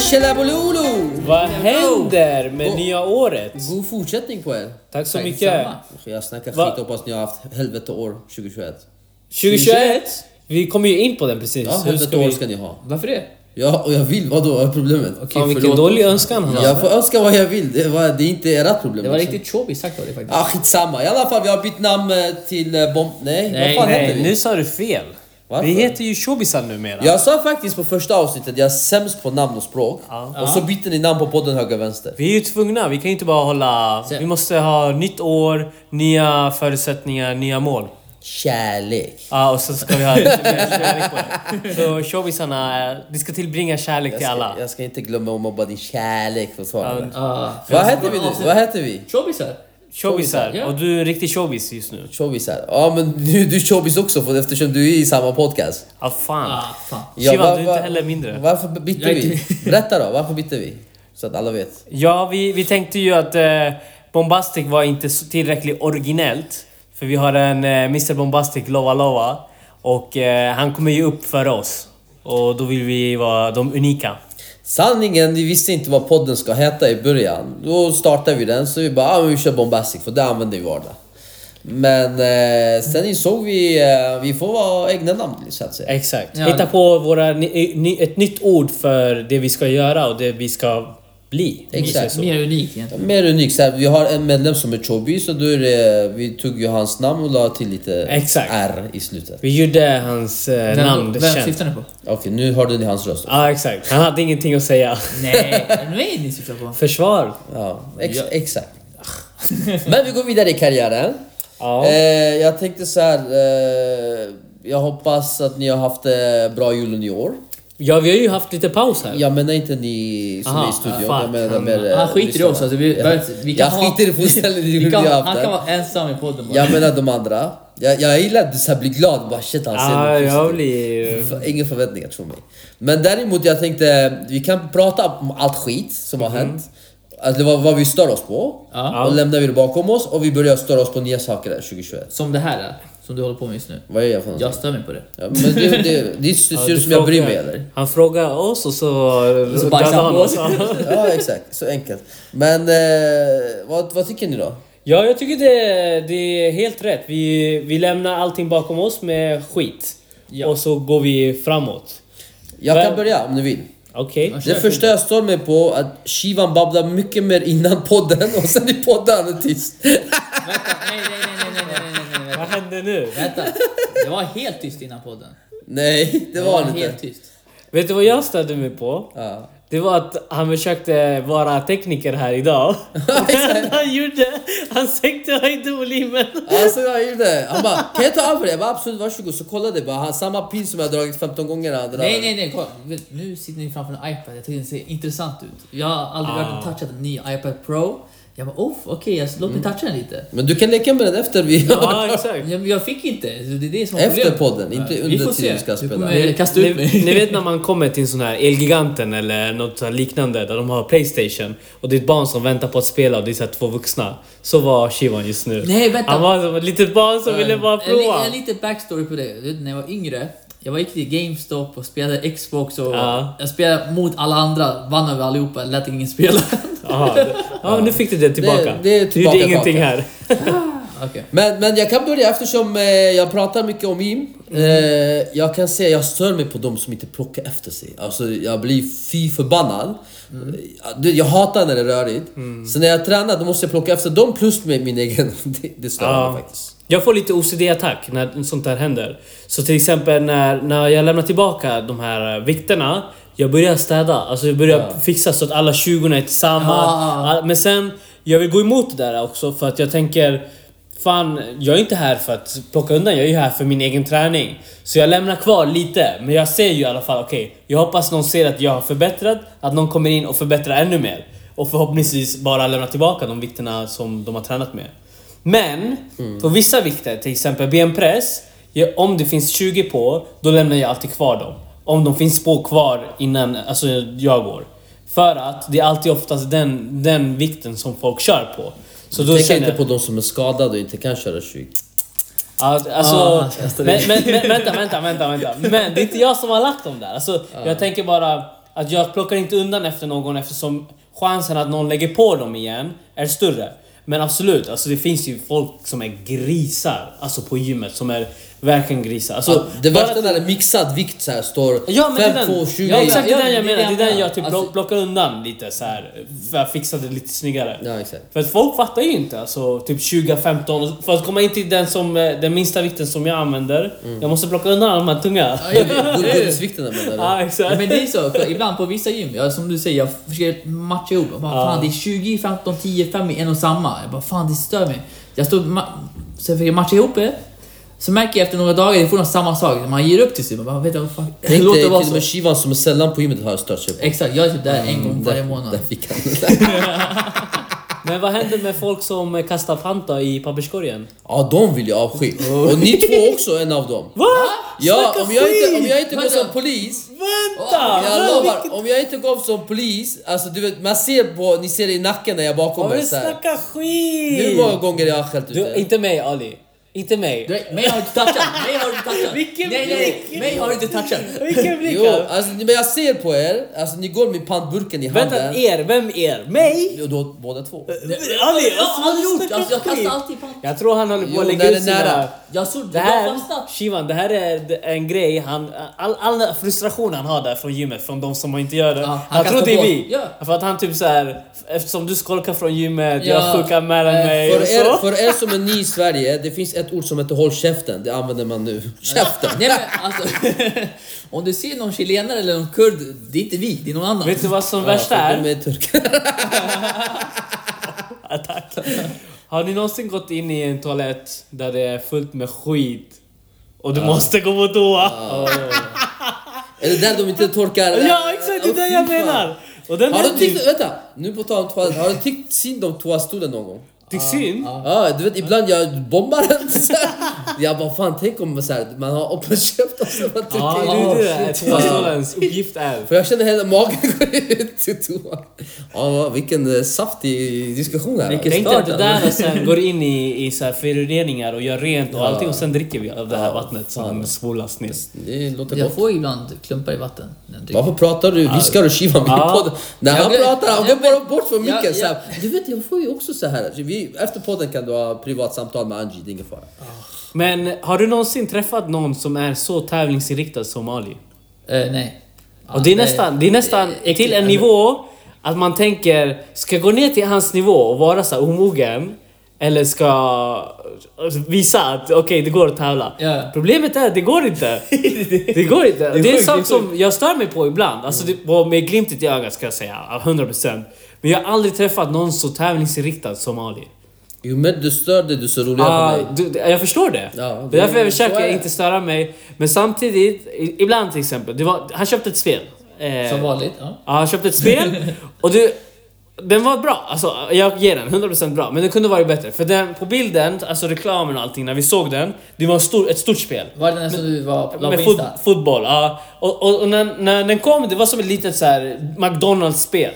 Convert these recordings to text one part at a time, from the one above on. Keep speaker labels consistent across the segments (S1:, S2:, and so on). S1: Tjelabololo!
S2: Vad händer med nya året?
S1: God fortsättning på er!
S2: Tack så
S3: Tack
S2: mycket.
S3: detsamma.
S1: Jag snackar
S2: Va?
S1: skit, hoppas ni har haft helvete år 2021.
S2: 2021! Vi kommer ju in på den precis.
S1: Ja,
S2: Hur
S1: helvete
S2: ska
S1: år
S2: vi...
S1: ska ni ha.
S3: Varför det?
S1: Ja, och jag vill, vadå? Vad är problemet?
S3: Okej,
S2: Fan vilken
S3: förlåt.
S2: dålig önskan han har.
S1: Jag får önska vad jag vill, det, var, det är inte ert problem.
S3: Det var
S1: liksom.
S3: riktigt tjobbigt sagt av dig faktiskt.
S1: Ah, skitsamma, i alla fall vi har bytt namn eh, till eh, Bomb... Nej,
S3: Nej,
S1: vad fan heter
S2: Nej,
S1: vi?
S2: nu sa du fel.
S1: Varför?
S2: Vi heter ju Shobisar numera.
S1: Jag sa faktiskt på första avsnittet, jag är sämst på namn och språk. Och så bytte ni namn på podden höger vänster.
S2: Vi är ju tvungna, vi kan ju inte bara hålla...
S3: Så-
S2: Vi måste ha nytt år, nya förutsättningar, nya mål.
S1: Kärlek.
S2: Ja, och så ska vi ha lite mer kärlek på det. Så showbizarna, vi ska tillbringa kärlek till
S1: Jag
S2: alla.
S1: ska, jag ska inte glömma att mobba din kärlek för svara.
S2: Ja,
S3: Ah.
S1: Vad heter vi nu? Vad heter vi?
S3: Tjobbisar?
S2: Showbizar,
S3: Ja.
S2: och du är en riktig showbiz just nu.
S1: Tjobbisar? Ja men du, du är tjobbis också för eftersom du är i samma podcast.
S2: Ja, fan.
S3: Ah, fan.
S1: Ja,
S2: Shiva,
S1: va-
S2: du är
S1: va-
S2: inte heller mindre.
S1: Varför bytte
S3: Jag är
S1: vi? Berätta då, varför bytte vi? Så att alla vet.
S2: Ja, vi, vi tänkte ju att eh, Bombastic var inte så tillräckligt originellt. För vi har en eh, Mr Bombastic, Lova Lova. Och eh, han kommer ju upp för oss. Och då vill vi vara de unika.
S1: Sanningen, vi visste inte vad podden ska heta i början. Då startade vi den så vi bara, ah, men vi kör bombastic för det använder vi vardag. Men eh, sen insåg vi, eh, vi får vara egna namn så att säga.
S2: Exakt.
S3: Ja.
S2: Hitta på våra, ny, eh, ny, ett nytt ord för det vi ska göra och det vi ska bli. om vi säger
S1: Exakt.
S2: så.
S3: Mer unik egentligen.
S1: Mer unikt, så här, vi har en medlem som är tjobbis och då är det, vi tog ju hans namn och la till lite
S2: Exakt.
S1: R i slutet.
S2: Vi gjorde hans eh, namn
S3: Vem, vem
S2: känt.
S3: syftar ni på?
S1: Okej, nu hörde ni hans röst.
S2: Ja, exakt. Han hade ingenting att säga.
S3: Nej, är det mig ni syftar på?
S2: Försvar.
S1: Ja, ex- exakt. Men vi går vidare i karriären.
S2: Ja.
S1: Eh, jag tänkte så här. Eh, jag hoppas att ni har haft eh, bra jul och nyår.
S2: Ja, vi har ju haft lite paus här.
S1: Jag menar inte ni som
S2: Aha,
S1: är i studion.
S2: fuck,
S1: jag menar
S2: han-
S1: mer, eh,
S3: Han skiter i
S1: lyssnarna.
S3: oss alltså. Vi, vi
S1: jag
S3: kan ha,
S1: skiter i fullständigt i
S3: vi
S1: hur
S3: kan,
S1: ni har
S3: Han
S1: haft
S3: kan
S1: det.
S3: vara ensam i podden bara.
S1: Jag menar de andra. Jag, jag gillar att du så här blir glad. Bara, shit, han ser
S2: Ja,
S3: Ah,
S1: något positivt.
S2: jag blir...
S1: F- Inga förväntningar tror mig. Men däremot jag tänkte, vi kan prata om allt skit som har hänt. Alltså vad, vad vi stör oss på.
S3: Ja.
S1: Och lämnar vi det bakom oss och vi börjar störa oss på nya saker där 2021.
S3: Som det här eh, som du håller på med just nu.
S1: Vad är jag för någonting?
S3: Jag stör mig på det.
S1: Ja, men det, det, det ser
S2: Ja,
S1: ut
S2: du
S1: som jag bryr mig
S2: frågar-
S1: eller?
S2: Han frågar oss och så... eh,
S3: så
S2: dödar
S3: bajsar han på oss.
S1: Ja exakt, så enkelt. Men eh, vad, vad tycker ni då?
S2: Ja, jag tycker det, det är helt rätt. Vi, vi lämnar allting bakom oss med skit.
S3: Ja.
S2: Och så går vi framåt.
S1: Jag
S2: Vem-
S1: kan börja om ni vill.
S2: Okej.
S1: Det första jag stör mig på är att Shivan babblar mycket mer innan podden och sen i podden är han tyst.
S3: Vänta, nej, nej, nej, nej, nej, nej, nej, nej,
S2: Vad
S3: vänta.
S2: händer nu?
S3: Vänta. Det var helt tyst innan podden.
S1: Nej, det var han inte.
S3: helt tyst.
S2: Vet du vad jag stödde mig på?
S1: Ja.
S2: Det var att han försökte vara tekniker här idag. Men han gjorde... Han sänkte höjdvolymen.
S1: Alltså jag gjorde Han bara, kan jag ta över det? Jag bara absolut, varsågod. Så kollade jag bara, han, samma pin som jag dragit 15 gånger han drar.
S3: Nej, nej, nej. Kolla. Vet, Nu sitter ni framför en iPad. Jag tycker den ser intressant ut. Jag har aldrig varit
S1: Ah.
S3: och touchat en ny iPad Pro. Jag bara, off, okej, alltså, låt mig
S1: Mm.
S3: toucha den lite.
S1: Men du kan leka med den efter vi
S2: Ja, exakt.
S3: Jag, jag fick inte. så Det är det som är
S1: Efter
S3: problemet.
S1: podden, inte
S3: Vi
S1: under
S3: får se.
S1: tiden vi ska
S3: Du
S1: spela.
S3: kommer- Kasta ut
S2: ni,
S3: mig.
S2: ni vet när man kommer till en sån här Elgiganten eller något så här liknande där de har Playstation och det är ett barn som väntar på att spela och det är så här två vuxna. Så var Shivan just nu.
S3: Nej, vänta.
S2: Han var som ett litet barn som ville bara
S3: En li-
S2: prova.
S3: En, liten backstory på det. Du vet, När jag var yngre, jag gick till GameStop och spelade Xbox och
S2: Ja.
S3: jag spelade mot alla andra, vann över allihopa, lät ingen spela.
S2: Jaha. Ja, nu fick du det tillbaka.
S1: Det- det är
S2: du gjorde
S1: tillbaka
S2: ingenting
S1: tillbaka.
S2: här.
S3: Okej.
S1: Men, men jag kan börja eftersom eh, jag pratar mycket om Im.
S2: Mm.
S1: Eh, jag kan säga jag stör mig på de som inte plockar efter sig. Alltså jag blir fy förbannad.
S2: Mm.
S1: Eh, du, Jag hatar när det är rörigt. Så när jag tränar då måste jag plocka efter dem plus med min egen. Det, det stör
S2: Ja.
S1: mig faktiskt.
S2: Jag får lite OCD-attack när sånt här händer. Så till exempel när, när jag lämnar tillbaka de här eh, vikterna. Jag börjar städa, alltså jag börjar fixa så att alla 20 är tillsammans.
S3: Ah.
S2: All- Men sen, jag vill gå emot det där också för att jag tänker Fan, jag är inte här för att plocka undan, jag är ju här för min egen träning. Så jag lämnar kvar lite, men jag ser ju i alla fall, okej, jag hoppas någon ser att jag har förbättrat, att någon kommer in och förbättrar ännu mer. Och förhoppningsvis bara lämnar tillbaka de vikterna som de har tränat med. Men för vissa vikter, till exempel benpress, ja, om det finns 20 på, då lämnar jag alltid kvar dem. Om de finns på kvar innan alltså, jag går. För att det är alltid oftast den, den vikten som folk kör på. Så då
S1: Tänk
S2: känner
S1: inte
S2: jag...
S1: på de som är skadade och inte kan köra 20.
S2: Alltså,
S3: Ah,
S2: alltså,
S3: jag står
S2: men, men, men, vänta, vänta, vänta, vänta. Men det är inte jag som har lagt dem där. Alltså, Jag tänker bara, Att jag plockar inte undan efter någon eftersom chansen att någon lägger på dem igen är större. Men absolut, alltså det finns ju folk som är grisar alltså på gymmet som är verkligen grisar. Alltså,
S1: Ja, det
S2: bara
S1: värsta
S2: att-
S1: när det är mixad vikt så här står
S2: Ja, men det är
S1: 5,
S2: den,
S1: 2, 20.
S2: ja, exakt, det är den jag
S3: det är
S2: menar. Det
S3: den
S2: är den
S3: jag-
S2: jag typ
S3: alltså-
S2: plock- plockar undan lite så här för att fixa det lite snyggare.
S1: Ja, exakt.
S2: För att folk fattar ju inte alltså, typ 20-15 För att komma in till den, som, eh, den minsta vikten som jag använder Jag måste plocka undan de här tunga
S3: Mm. Ja, jag vet.
S1: Gud- Godisvikten jag menar.
S2: Ja,
S3: Ja,
S2: exakt
S3: Men det är så, för ibland på vissa gym, ja, som du säger, jag försöker matcha ihop. Jag bara,
S2: Ja.
S3: fan, det är 20, 15, 10, 5 i en och samma. Jag bara, fan det stör mig. Jag står, ma- så jag försöker matcha ihop det. Så märker jag efter några dagar, det är fortfarande samma sak. Man ger upp till slut. Man bara, vet du vad fuck.
S1: Tänk
S3: Låt det
S1: dig
S3: vara
S1: till och
S3: så.
S1: med Shivan som är sällan på gymmet har stört sig på.
S3: Exakt, jag är typ där en
S2: Mm,
S3: gång varje
S1: Där
S3: månad.
S1: fick han det.
S2: Men vad händer med folk som eh, kastar Fanta i papperskorgen?
S1: Ja, de vill jag avsky.
S3: Oh.
S1: Och ni två också är en av dem.
S2: Va?
S1: Ja,
S2: Snacka
S1: om jag inte, om
S2: skit!
S1: jag inte går
S3: Vänta.
S1: som polis
S2: Vänta!
S1: Jag lovar, om jag inte går som polis, alltså du vet, man ser på, ni ser det i nacken när jag är bakom
S2: Har
S1: er
S2: du
S1: såhär.
S2: snackat skit?
S1: Hur många gånger jag har skällt ut
S2: du,
S1: er?
S2: Inte mig Ali, inte mig
S3: Du, mig har du inte touchat! Mig har du inte touchat!
S2: Vilken
S3: nej, nej,
S2: blick!
S3: nej, mig har du inte touchat!
S2: Vilken blick
S1: Jo,
S2: här.
S1: alltså, men jag ser på er, alltså ni går med pantburken i handen.
S2: Vänta, er, vem er? Mig?
S1: Jo, då, båda två.
S2: Ali,
S3: Jag har aldrig gjort det!
S2: snacka
S3: Alltså, jag
S2: skit.
S3: kastar alltid pant.
S2: Jag tror han håller på
S1: Jo,
S2: att
S1: när
S2: lägga
S1: det är
S2: ut sina...
S1: nära.
S3: Jag såg,
S2: Det
S3: jag
S2: här,
S3: fastnat.
S2: Shivan, det här är en grej, han, all, all frustration han har där från gymmet, från de som inte gör det.
S3: Ja, han
S2: han tror
S3: kastar
S2: det är
S3: boll.
S2: vi.
S3: Ja.
S2: För att han typ såhär, eftersom du skolkar från gymmet,
S3: Ja.
S2: jag fuckar med
S3: Eh,
S2: mig
S1: För
S2: och så.
S1: er, för er som är ny i Sverige, det finns ett ord som heter håll käften, det använder man nu. Käften!
S3: Nej men alltså, om du ser någon chilenare eller någon kurd, det är inte vi, det är någon annan.
S2: Vet du vad som
S1: Ja,
S2: värsta
S1: för
S2: är?
S1: de är turkar.
S2: Ja, tack. Har ni någonsin gått in i en toalett där det är fullt med skit och du måste gå på toa?
S1: Är det där de inte torkar?
S2: Ja, exakt! Det är
S1: Åh,
S2: det
S1: fy
S2: jag
S1: fan.
S2: menar! Och den
S1: Har du
S2: är typ
S1: tyckt, vänta, nu på tal om toalett, har du tyckt synd om toastolen någon gång?
S2: till synd.
S1: Ja, du vet ibland jag bombar den så här. Jag bara fan tänk om så här, man har öppen käft och så man
S2: Ja, det
S1: trycker in.
S2: är det. där.
S3: shit.
S2: Toastolens uppgift är...
S1: För jag känner hela magen gå ut till toan. Ja, vilken eh, saftig diskussion här.
S3: Vilken
S2: Tänk dig att
S3: start
S2: det
S3: ändå.
S2: där och sen går in i, i så här föroreningar och gör rent och allting och sen dricker vi av det här vattnet som spolas ner.
S1: Det låter
S3: Jag
S1: gott.
S3: får ibland klumpar i vatten. när jag dricker.
S1: Varför pratar du? Viskar du Shiva med
S2: Ja.
S1: i podden? När
S3: Jag
S1: han
S3: vet-
S1: pratar, han
S3: jag
S1: går bara
S3: vet-
S1: bort från
S3: jag-
S1: micken så
S3: jag-
S1: här. Du vet, jag får ju också så här. Vi, efter podden kan du ha privat samtal med Angie, det är ingen fara.
S2: Men har du någonsin träffat någon som är så tävlingsinriktad som Ali?
S3: Eh, nej.
S2: Och det är
S3: Ja,
S2: nästan, det är nästan till en nivå att man tänker, ska jag gå ner till hans nivå och vara så här omogen? Eller ska visa att okej, det går att tävla.
S3: Ja.
S2: Problemet är att det går inte. Det går inte. Det är, en
S3: sjukt, det
S2: sak
S3: är
S2: som jag stör mig på ibland. Alltså det, och med glimtet i ögat ska jag säga, 100%. Men jag har aldrig träffat någon så tävlingsinriktad som Ali.
S1: Ju mer du stör dig, desto roligare
S2: Ja,
S1: för mig.
S2: du, jag förstår det.
S1: Ja,
S2: det
S1: det-
S2: är därför jag
S1: så är
S2: försöker
S1: det.
S2: inte störa mig. Men samtidigt, i- ibland till exempel. Det var, han köpte ett spel. Eh,
S3: Som vanligt. Ja.
S2: Ja, han köpte ett spel och du, den var bra. Alltså, jag ger den 100% bra, men den kunde varit bättre. För den, på bilden, alltså reklamen och allting, när vi såg den, det var en stor, ett stort spel.
S3: Var det den som du var la på
S2: Med fot,
S3: Insta?
S2: fotboll, ja. Och, och, och när, när den kom, det var som ett litet så här McDonalds-spel.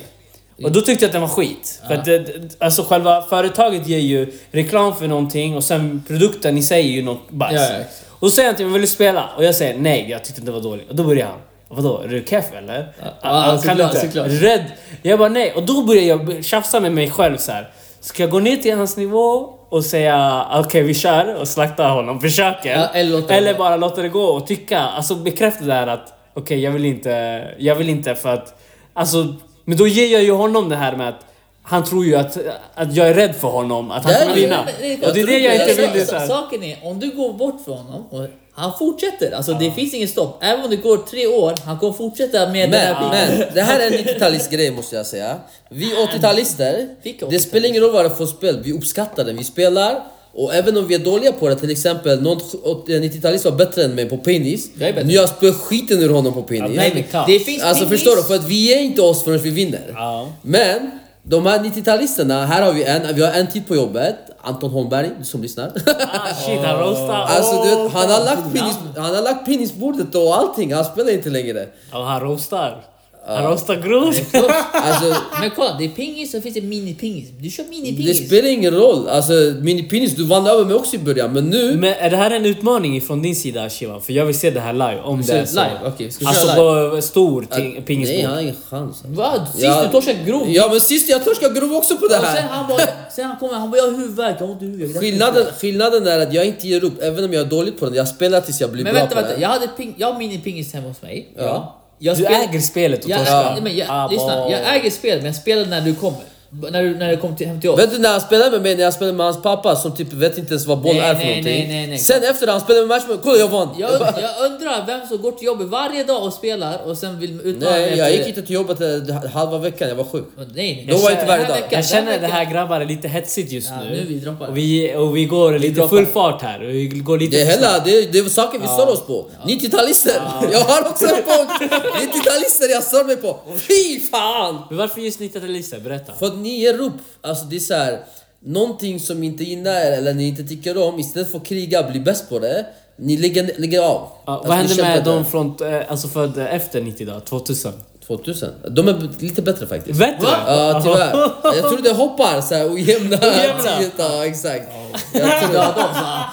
S2: Och då tyckte jag att den var skit. För att det, det- alltså själva företaget ger ju reklam för någonting och sen produkten i sig är ju något bajs.
S3: Ja, ja, exakt.
S2: Och då säger han till mig, vill du spela? Och jag säger nej, jag tyckte det var dåligt. Och då börjar han. Vadå, är du keff eller?
S3: Ja, ja,
S2: kan du
S3: såklart,
S2: inte?
S3: såklart.
S2: Är du rädd? Jag bara nej. Och då börjar jag tjafsa med mig själv så här. Ska jag gå ner till hans nivå och säga okej vi kör och slakta honom, försöker?
S3: Ja, eller låta det gå.
S2: bara låta det gå och tycka, alltså bekräfta det här att okej jag vill inte, jag vill inte för att Alltså, men då ger jag ju honom det här med att han tror ju att, att jag är rädd för honom, att han
S1: Nej,
S2: kommer
S1: nej,
S2: vinna.
S3: men-
S2: Och det är det jag
S3: tror
S2: inte vill. Det, är
S3: Alltså,
S2: så här.
S3: Saken är, om du går bort från honom och han fortsätter. Alltså det finns inget stopp. Även om det går tre år, han kommer fortsätta med den här
S1: Men,
S3: biten.
S1: men det här är en 90-talistgrej måste jag säga. Vi 80-talister,
S3: Vilka 80-talister?
S1: det spelar ingen roll vad det är för spel, vi uppskattar det. Vi spelar och även om vi är dåliga på det, till exempel någon 90-talist var bättre än mig på penis.
S3: Jag är bättre.
S1: Nu jag spöar skiten ur honom på penis.
S2: nej, men klart.
S3: Det finns
S1: Alltså
S3: pingis.
S1: förstår du? För att vi ger inte oss förrän vi vinner.
S2: Ja.
S1: Men de här 90-talisterna, här har vi en, vi har en tid på jobbet. Anton Holmberg, du som lyssnar.
S2: Ah, shit, han roastar.
S1: Alltså du vet, han har lagt
S3: namn.
S1: penis, han har lagt penisbordet och allting, han spelar inte längre.
S2: Ja, han roastar. Han rostar grovt.
S1: Alltså,
S3: Men kolla, det är pingis och finns det minipingis. Du kör
S1: det
S3: minipingis.
S1: spelar ingen roll. Alltså, min penis, du vann över mig också i början, men nu...
S2: Men är det här en utmaning från din sida Shivan? För jag vill se det här live om det
S3: kör
S2: är så.
S3: live? Okej, ska vi
S2: alltså
S1: köra
S2: på stor ting-
S1: Nej, han har
S2: pingisbord.
S1: ingen chans.
S3: Vad? Sist
S1: Ja.
S3: du torskade grovt.
S1: Ja, men sist jag torskade grov också på det
S3: Och sen
S1: här.
S3: han bara, sen han kommer, han bara jag har huvudvärk, jag har ont i huvudet. jag kan inte
S1: Skillnaden, skillnaden är att jag inte ger upp, även om jag är dåligt på den. Jag spelar tills jag blir
S3: Men
S1: bra
S3: vänta,
S1: på
S3: vänta.
S1: den.
S3: Jag, hade ping, jag har minipingis hemma hos mig.
S1: Ja.
S3: Jag
S2: Du
S3: spel-
S2: äger spelet och
S3: jag,
S2: torskar.
S3: nej, men jag,
S2: Ah,
S3: lyssna,
S2: wow.
S3: jag äger spelet men jag spelar när du kommer. B- När du, när du kommer till, hem till oss.
S1: Vet du när han spelade med mig, när jag spelade med hans pappa som typ vet inte ens vad boll
S3: Nej,
S1: är för
S3: nej,
S1: någonting.
S3: nej, nej, nej.
S1: Sen efter han spelade med matchen, kolla jag vann!
S3: Jag, und- jag undrar vem som går till jobbet varje dag och spelar och sen vill utmana mig
S1: nej,
S3: efter
S1: jag gick
S3: det.
S1: inte till jobbet eh, halva veckan, jag var sjuk.
S3: Men Nej,
S1: Då
S3: nej.
S1: var jag inte varje
S3: Den här
S1: dag.
S3: veckan,
S2: Jag känner att
S3: den
S2: det
S3: här
S2: här grabbar är lite hetsigt just
S3: Ja,
S2: nu.
S3: nu vi droppar.
S2: och, vi, och vi går lite
S3: droppar.
S2: full fart här. Vi går lite
S1: Det är,
S2: för
S1: hela,
S2: snabbt.
S1: det, är, det är saker vi stör oss på. 90-talister! Jag har också en punkt! 90-talister jag stör mig på! Fy fan!
S2: Men varför just 90-talister? Berätta.
S1: För att ni ger upp. Alltså det är så här, någonting som ni inte gillar eller ni inte tycker om, istället för att kriga, bli bäst på det. Ni lägger, lägger av.
S2: Ja,
S1: Alltså,
S2: vad
S1: ni
S2: hände
S1: kämpar
S2: med
S1: där.
S2: de från, eh, alltså födda efter 90 då? 2000?
S1: 2000? De är b- lite bättre faktiskt.
S2: Vet du?
S1: Ja, tyvärr. Jag tror det hoppar så här ojämna
S2: Ojämna?
S1: tider. Ja, exakt. Jag tror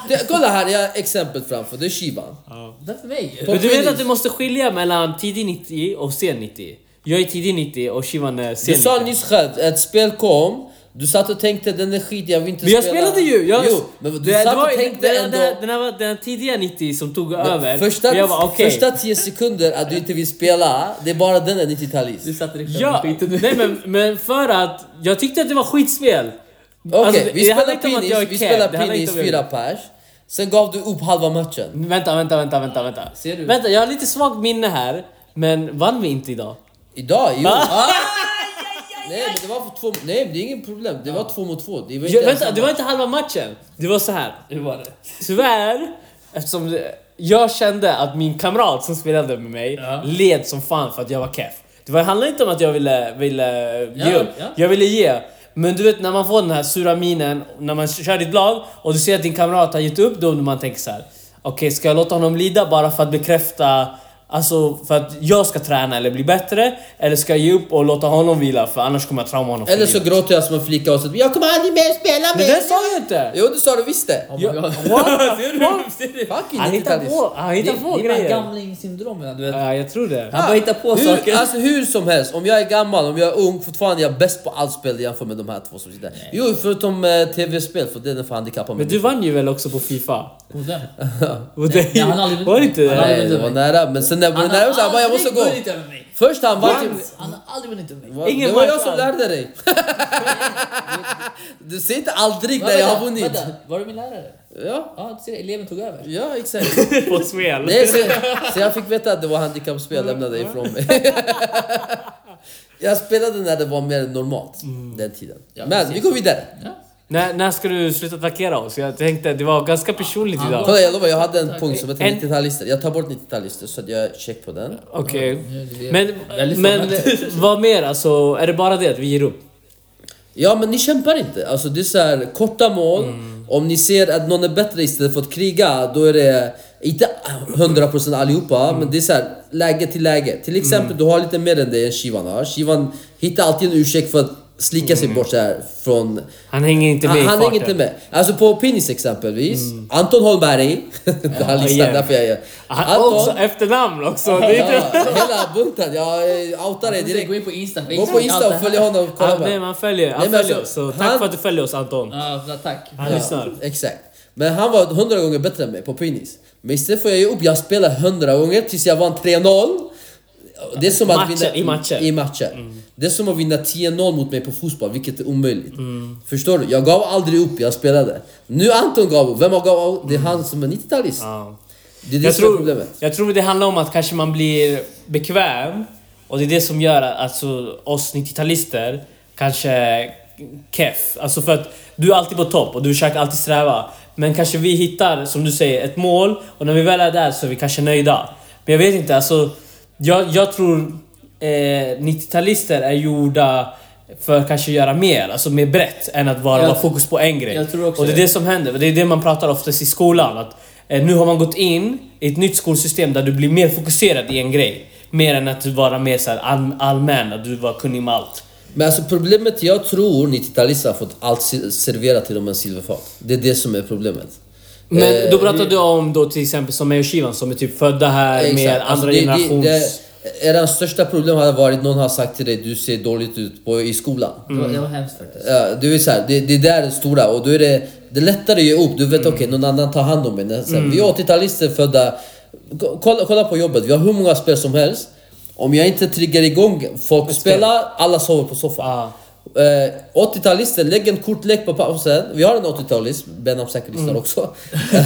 S1: det. Kolla här, jag har exemplet framför. Det är Shiban.
S3: veckan. Den för mig.
S2: Men du vet
S1: Finish.
S2: att du måste skilja mellan tidig 90 och sen 90? Jag är tidig 90 och Shivan är sen
S1: Du sa
S2: 90.
S1: nyss själv, ett spel kom, du satt och tänkte den är skit, jag vill inte
S2: Men jag
S1: spela.
S2: spelade ju! Jag,
S1: Jo, men du
S2: det, det
S1: satt
S2: var,
S1: och tänkte
S2: den,
S1: ändå...
S2: Den, den, här var den tidiga 90 som tog över.
S1: Första,
S2: Men jag bara okej.
S1: första 10 sekunder att du inte vill spela, det är bara den är
S3: Du
S1: 90-talist.
S3: satte dig själv
S2: Ja,
S3: i skiten nu.
S2: nej men, men för att jag tyckte att det var skitspel.
S1: Okej,
S2: Alltså,
S1: vi
S2: det handlar
S1: spelar
S2: inte om att jag är
S1: pinis, vi
S2: ked,
S1: spelar
S2: det handlar inte
S1: pinis,
S2: om att
S1: fyra
S2: jag-
S1: pers. Sen gav du upp halva matchen.
S2: Vänta, vänta, vänta, vänta, vänta.
S3: Ser du?
S2: Vänta, jag har lite svagt minne här. Men vann vi inte idag?
S1: Idag, jo. Ah! Nej men det var för två, nej men det är inget problem, det var två mot två. Det var inte
S2: Jag, vänta,
S1: ens-
S2: det var inte halva matchen. Det var så här. Hur var det? Tyvärr, eftersom det- jag kände att min kamrat som spelade med mig
S3: Ja.
S2: led som fan för att jag var keff. Det var- handlade inte om att jag ville, ville ge
S3: Ja,
S2: upp.
S3: ja.
S2: Jag ville ge. Men du vet när man får den här sura minen, när man kör ditt lag och du ser att din kamrat har gett upp, då man tänker så här. Okej, ska jag låta honom lida bara för att bekräfta Alltså för att jag ska träna eller bli bättre Eller ska jag ge upp och låta honom vila för annars kommer jag trauma honom för
S1: Eller så
S2: livet.
S1: gråter jag som en flicka och säger jag kommer aldrig mer spela
S2: Men
S1: med
S2: det sa jag inte!
S1: Jo det sa du visst det!
S3: Oh my
S2: Ja,
S3: God.
S2: what the fuck?
S1: Fucking
S2: Han hittar
S1: 90-talist.
S2: på, han hittar
S3: Det-
S2: på
S3: Det är bara
S2: grejer.
S3: gamlingsyndromen du vet.
S2: Ja, jag tror det.
S3: Han bara hittar på
S1: Ah. hur,
S3: saker.
S1: Alltså hur som helst, om jag är gammal, om jag är ung, fortfarande är jag bäst på allt spel jämfört med de här två som sitter här. Jo, förutom eh, tv-spel, för den är för handikappad.
S2: Men du vann ju väl också på Fifa?
S3: Hos vem?
S2: Och det,
S3: nej, han har aldrig vunnit.
S2: var det inte
S3: Han har
S2: det?
S1: Nej,
S3: aldrig-
S1: det var nära, men sen när jag var nära så han bara jag måste gå.
S3: Han har aldrig vunnit över mig.
S1: Först han vann typ...
S3: Han har aldrig vunnit över mig.
S1: Va?
S2: Ingen
S1: Det var jag
S2: match
S1: som
S2: alls.
S1: lärde dig. du säger inte aldrig
S3: Va,
S1: när jag
S3: vänta,
S1: har vunnit.
S3: vänta, Var du min lärare?
S1: Ja,
S3: Ja, du ser, eleven tog över.
S1: ja exakt.
S2: På spel?
S1: Nej, så, så jag fick veta att det var handikappspel
S3: Mm.
S1: jag lämnade ifrån mig. jag spelade när det var mer normalt, den tiden.
S3: Mm. Ja,
S1: men vi går vidare.
S3: Ja.
S2: När, när ska du sluta attackera oss? Jag tänkte det var ganska personligt idag.
S1: Kolla jag lovar, jag hade en punkt som hette
S2: En-
S1: 90-talister. Jag tar bort 90-talister så att jag check på den.
S2: Okej.
S3: det är
S2: Men,
S3: väldigt
S2: men
S3: formellt.
S2: vad mer? Alltså, är det bara det att vi ger upp?
S1: Ja men ni kämpar inte. Alltså det är så här, korta mål.
S2: Mm.
S1: Om ni ser att någon är bättre istället för att kriga, då är det inte 100% allihopa,
S2: Mm.
S1: men det är så här, läge till läge. Till exempel, du har lite mer än dig än Shivan har. Shivan hittar alltid en ursäkt för att slicka sig bort så här från
S2: Han hänger inte med
S1: Han,
S2: i
S1: han
S2: Mm. farten. Mm.
S1: hänger inte med. Alltså på pinnis exempelvis, Anton Holmberg, han listar
S2: igen. Ah,
S1: därför jag gör.
S2: Han,
S1: Anton,
S2: också, efternamn också! Det är
S1: ja,
S2: inte...
S1: hela bunten, jag eh, outar dig direkt.
S3: Direkt. Gå in på Insta.
S1: Gå på Insta och följ honom, kolla
S2: Ah,
S1: bara.
S2: nej, liksom men han följer, han
S1: Nej, men
S2: följer
S1: alltså,
S2: oss. Så tack
S1: han-
S2: för att du följer oss Anton.
S3: Ja, bra, tack.
S2: Han lyssnar.
S1: Exakt. Men han var hundra gånger bättre än mig på pinnis. Men istället för att jag ge upp, jag spelade hundra gånger tills jag vann 3-0. Det är som att
S2: Matcher,
S1: vinna,
S2: i matcher. Mm.
S1: I matcher. Det är som att vinna 10-0 mot mig på fotboll, vilket är omöjligt.
S2: Mm.
S1: Förstår du? Jag gav aldrig upp, jag spelade. Nu Anton gav upp, vem har gav upp? Det är han som är 90-talist.
S2: Ja.
S1: Det är det
S2: jag,
S1: som är
S2: tror,
S1: problemet.
S2: jag tror det handlar om att kanske man blir bekväm och det är det som gör att alltså, oss 90-talister kanske keff. Alltså för att du är alltid på topp och du försöker alltid sträva. Men kanske vi hittar, som du säger, ett mål och när vi väl är där så är vi kanske nöjda. Men jag vet inte, alltså jag, jag tror eh, 90-talister är gjorda för att kanske göra mer, alltså mer brett än att bara
S3: Jag-
S2: vara fokus på en grej.
S3: jag tror också
S2: och det är
S3: det.
S2: det som händer. Det är det man pratar oftast i skolan. Att eh, nu har man gått in i ett nytt skolsystem där du blir mer fokuserad i en grej. Mer än att du vara mer så här all, allmän, att du var kunnig med allt.
S1: Men alltså problemet, jag tror 90-talister har fått allt se- serverat till dem en silverfat. Det är det som är problemet.
S2: Men Eh, då pratar du om då till exempel som mig och Shivan som är typ födda här,
S1: Exakt.
S2: mer
S1: Alltså,
S2: andra
S1: det- det-
S2: generations...
S1: det- Era största problem hade varit någon har sagt till dig du ser dåligt ut på, i skolan.
S2: Mm.
S3: Det var, det var hemskt faktiskt.
S1: Ja, du är så här, det, det där är det stora och då är det, det är lättare att ge upp. Du vet
S2: Mm.
S1: okej, någon annan tar hand om mig. När- så här, Vi 80-talister födda, ko- kolla, kolla på jobbet, vi har hur många spel som helst. Om jag inte triggar igång folk spelar, alla sover på soffan.
S2: Ah.
S1: Eh, 80-talister, lägg en kortlek på pausen. Vi har en 80-talist, Benham säkert lyssnar
S2: Mm.
S1: också.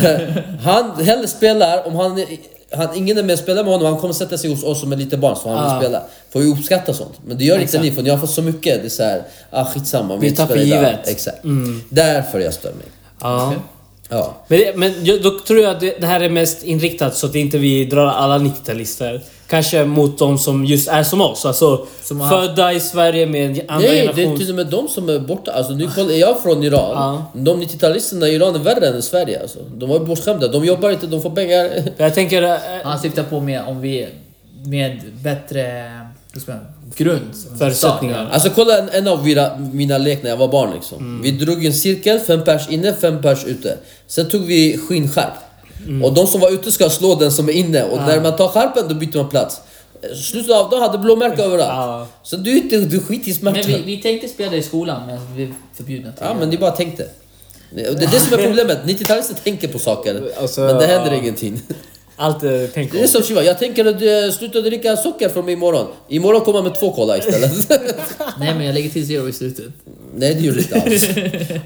S1: han hellre spelar, om han, han, ingen är med och spelar med honom, han kommer sätta sig hos oss som är lite barn så han vill spela. Får vi uppskatta sånt. Men det gör inte ni för ni har fått så mycket. Det är såhär, ah skitsamma.
S2: Vi
S1: inte
S2: tar för
S1: spelar idag.
S2: givet. Mm.
S1: Exakt. Därför jag stör mig.
S2: Ja.
S1: Ja.
S2: Men, det, men jag, då tror jag att det, det här är mest inriktat så att inte vi drar alla 90-talister. Kanske mot de som just är som oss. Alltså
S3: Som har-
S2: födda i Sverige med en andra
S1: Nej, det är
S2: generations...
S1: till och med de som är borta. Alltså, nu koll- är jag från Iran. De 90-talisterna i Iran är värre än i Sverige. Alltså. De var bortskämda. De jobbar inte, de får pengar.
S2: Jag tänker... eh,
S3: Han syftar på med om vi är med bättre vad ska man säga, grund.
S2: Förutsättningar.
S1: Alltså kolla en, en av mina, mina lek när jag var barn liksom.
S2: Mm.
S1: Vi drog en cirkel, fem pers inne, fem pers ute. Sen tog vi skinnskärp.
S2: Mm.
S1: Och de som var ute ska slå den som är inne och när man tar skärpen då byter man plats. Eh, Slutet av dagen hade blåmärken överallt.
S2: Ah.
S1: Så du, är inte- du skiter i smärtan.
S3: Men vi, vi tänkte spela det i skolan men vi är förbjudna till
S1: Ja men ni bara tänkte. Det är det som är problemet, 90-talister tänker på saker.
S2: Alltså,
S1: men det händer
S2: ja.
S1: ingenting.
S2: Allt eh, tänk
S1: Det är
S2: om.
S1: som Shiva, jag tänker att eh, sluta dricka socker från mig imorgon. Imorgon kommer jag med två kola istället.
S3: Nej men jag lägger till zero i slutet.
S1: Nej det gör du inte alls.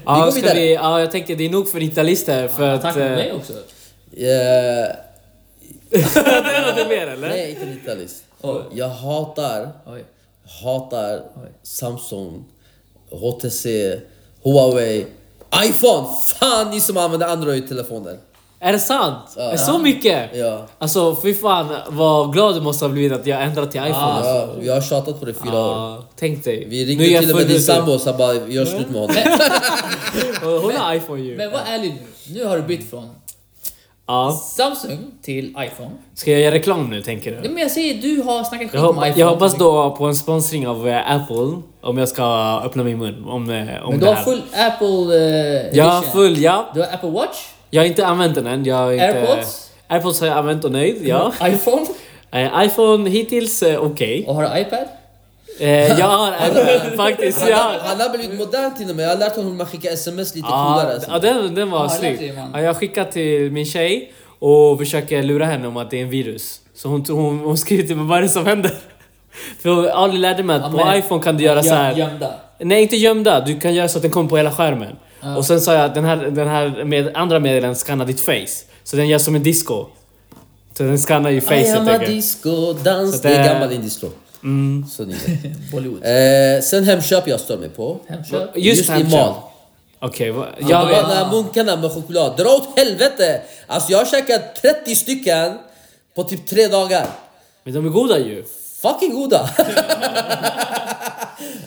S2: Ja,
S1: går
S2: ska
S1: vidare.
S2: vi, ja, jag tänker det är nog för 90-talister för att...
S3: Tack för
S2: eh,
S3: mig också.
S1: Eh,
S2: det är något mer eller?
S1: Nej, inte 90-talist. Jag hatar,
S3: Oj.
S1: hatar Samsung, HTC, Huawei, iPhone! Fan ni som använder Android-telefoner!
S2: Är det sant? Är det så mycket?
S1: Ja.
S2: Alltså fy fan vad glad du måste ha blivit att jag ändrat till iPhone. alltså.
S1: Ja, jag har tjatat på det i fyra år.
S2: Ja, tänk dig.
S1: Vi
S2: Ah. Nu är
S1: ringde
S2: jag
S1: till och med
S2: född
S1: din
S2: ut.
S1: sambo och sa bara vi gör slut med honom.
S2: Och Hon har iPhone ju.
S3: Men vad ärlig nu. Nu har du bytt från
S2: Ja.
S3: Samsung till iPhone.
S2: Ska jag göra reklam nu tänker
S3: Nej,
S2: du?
S3: men jag säger du har snackat skit
S2: Jag,
S3: om
S2: hoppa,
S3: iPhone.
S2: jag hoppas då på en sponsring av eh, Apple om jag ska öppna min mun om, eh, om
S3: Men du
S2: det
S3: har
S2: här.
S3: full Apple eh,
S2: jag har
S3: edition.
S2: full, ja.
S3: Du har Apple Watch,
S2: Jag har inte använt den än. Jag har inte,
S3: AirPods?
S2: Airpods har jag använt och nöjd, ja.
S3: iPhone
S2: Eh, iPhone hittills eh, okej.
S3: och har du iPad.
S2: Eh, jag har Apple faktiskt. Jag har.
S1: Han har blivit modern till och med. Jag har lärt honom hur man skickar sms lite
S2: Ja,
S1: coolare. alltså.
S2: ja, den, den var
S3: Ja,
S2: snygg.
S3: det är man.
S2: Ja, jag skickar till min tjej och försöker lura henne om att det är en virus. Så hon, hon, hon skriver till mig vad är det som händer. För Ali lärde mig
S3: Ja,
S2: att på
S3: men-
S2: iPhone kan du göra så här.
S3: Gömda.
S2: Nej, inte gömda. Du kan göra så att den kommer på hela skärmen. Och sen sa jag att den här, den här med andra medelen skannar ditt face. Så den gör som en disco. Så den skannar ju
S1: I
S2: facet.
S1: am a
S2: tänker jag.
S1: disco dans.
S2: Så
S1: Det är
S2: det- Mm.
S1: gammal indisk låt. Så ni vet.
S3: Bollywood.
S1: Eh, sen Hemköp jag stör mig på.
S3: Hemköp.
S2: Just
S1: Just, i
S2: Hemköp.
S1: mal.
S2: Okej, vad-
S1: Ja,
S2: jag
S1: de
S2: vet.
S1: här munkarna med choklad, dra åt helvete! Alltså jag har käkat 30 stycken på typ tre dagar.
S2: Men de är goda ju.
S1: Fucking goda!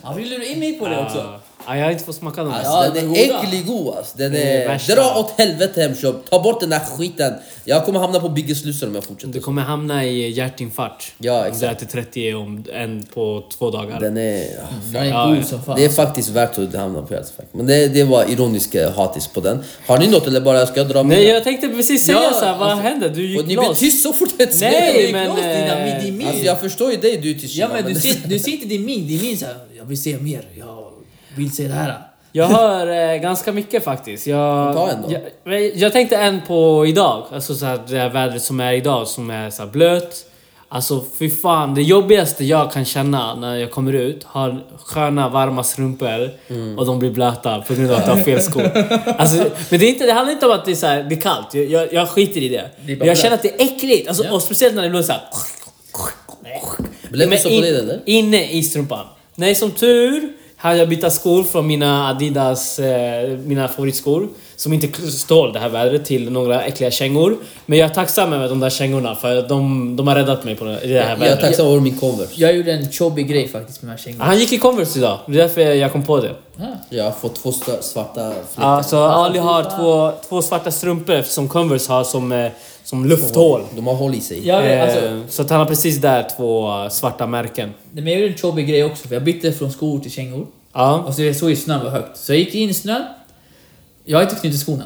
S3: Han vill lura in mig på det också.
S2: Ja, jag har inte fått smaka dem.
S1: Alltså,
S3: Ja, de
S1: den
S3: är
S1: är
S3: goda.
S1: äcklig god alltså. Den
S2: Det är
S1: är...
S2: värsta.
S1: Dra åt helvete Hemköp, ta bort den här skiten. Jag kommer hamna på Biggest Loser om jag
S2: Du
S1: fortsätter.
S2: kommer hamna i hjärtinfarkt.
S1: Ja,
S2: Om du äter 30 om en på två dagar.
S1: Den är... ah,
S3: Den är
S2: Ja,
S3: god
S2: ja.
S3: som fan.
S1: Det är faktiskt värt att hamna på hjärtat. Men det, det var ironisk eh, hatis på den. Har ni något eller bara ska jag dra
S2: Nej,
S1: mina?
S2: jag tänkte precis säga
S1: Ja, alltså,
S2: så här, vad händer? Du
S1: Och
S2: gick
S1: ni blir
S2: loss.
S1: tyst så fort jag
S2: Nej,
S1: säger
S2: men- eh,
S1: det.
S3: Glas dina midi
S1: Alltså jag förstår ju dig du är tyst.
S3: Ja
S1: Shiva,
S3: men du
S1: men-
S3: ser, du ser inte din min, din min såhär, jag vill se mer, jag vill se det här.
S2: Jag hör eh, ganska mycket faktiskt. Jag,
S1: Ta en då.
S2: jag, men jag tänkte en på idag. Alltså så här, det här vädret som är idag som är så här blött. Alltså fy fan, det jobbigaste jag kan känna när jag kommer ut har sköna varma strumpor
S1: Mm.
S2: och de blir blöta på grund av att jag har fel skor. Alltså, men det, är inte, det handlar inte om att det är, så här, det är kallt, jag, jag, jag skiter i det.
S3: Det är
S2: Men jag
S3: bara blött.
S2: känner att det är äckligt, alltså, och speciellt när det blir så här.
S1: Blev det
S2: Men
S1: så på
S2: in-
S1: dig eller?
S2: Inne i strumpan. Nej, som tur hade jag bytt skor från mina Adidas, eh, mina favoritskor. som inte stål det här vädret till några äckliga kängor. Men jag är tacksam över de där kängorna för de, de har räddat mig på det, i det här
S1: Jag är
S2: vädret.
S1: tacksam över min Converse.
S3: Jag gjorde en jobbig grej faktiskt med de här kängorna.
S2: Han gick i Converse idag, det är därför jag kom på det.
S1: Jag har fått två sta- svarta fläckar.
S2: Ja, så Ali har två, två svarta strumpor som Converse har som, eh, som lufthål.
S1: De har hål i sig.
S3: Jag, vet, alltså,
S2: Eh, Så att han har precis där två eh, svarta märken.
S3: nej, men jag gjorde en jobbig grej också för jag bytte från skor till kängor.
S2: Ja.
S3: Och så jag såg ju snön var högt. Så jag gick in i snön. Jag har inte knutit skorna.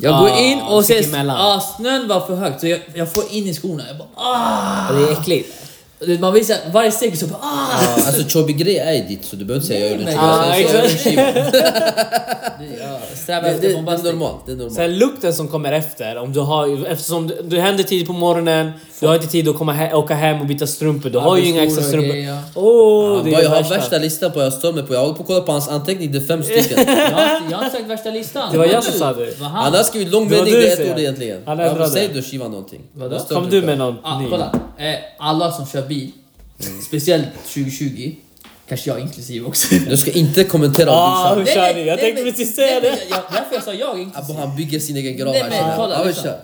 S3: Jag går
S2: Ah,
S3: in och
S2: stick
S3: ser
S2: emellan.
S3: ah, snön var för högt så jag, jag får in i skorna. Jag bara ah!
S2: Det är äckligt.
S3: Och det- Man visar varje steg så bara ah!
S1: Ja, alltså Chobby Grey är ju ditt så du behöver inte säga jag gjorde en
S3: men-
S1: Chobby
S2: Ah,
S1: Grey. Jag säger,
S2: exakt.
S1: "Jag gjorde en Chobby."
S3: Jag strävar
S1: Alltså, Det- det-
S3: efter
S1: det är
S3: bombastik.
S1: normalt. Det är normalt.
S2: Sen lukten som kommer efter, om du har, eftersom du- du händer tidigt på morgonen, du har inte tid att komma he- åka hem och byta strumpor, du har ju
S3: det är
S2: inga extra
S3: stora
S2: strumpor.
S3: grejer,
S2: Åh, det
S1: Vad
S2: är
S1: jag har
S2: det värsta.
S1: värsta listan på jag stör mig på. Jag håller på att kolla på hans anteckning, det är fem stycken.
S3: Jag har, inte- jag har inte sagt värsta listan.
S2: Det var
S3: Vad
S2: jag som
S3: du?
S2: sa det.
S3: Vad han?
S1: Han har skrivit lång
S2: Det var
S1: mening,
S2: du,
S1: det är
S2: säger
S1: ett ord
S2: jag.
S1: egentligen.
S2: Han
S1: Ja,
S2: ändrade.
S1: men Säg du Shiva någonting. Jag stör
S2: Kom
S1: mig
S2: du
S1: på.
S2: med någon
S3: Ah,
S2: ny? Mm.
S3: kolla. Eh, alla som kör bil, speciellt 2020, kanske jag inklusive också.
S1: Du ska inte kommentera om
S2: Ah,
S1: du
S2: hur
S1: kör.
S2: kör ni? Jag tänkte
S3: men-
S2: precis säga
S3: nej,
S2: det.
S3: men jag- jag- Därför jag sa jag inklusive.
S1: Abbo han bygger sin egen grav
S3: Nej,
S1: här.
S3: men
S1: känner jag.
S3: kolla,
S1: Ja, men
S3: lyssna.
S1: kör.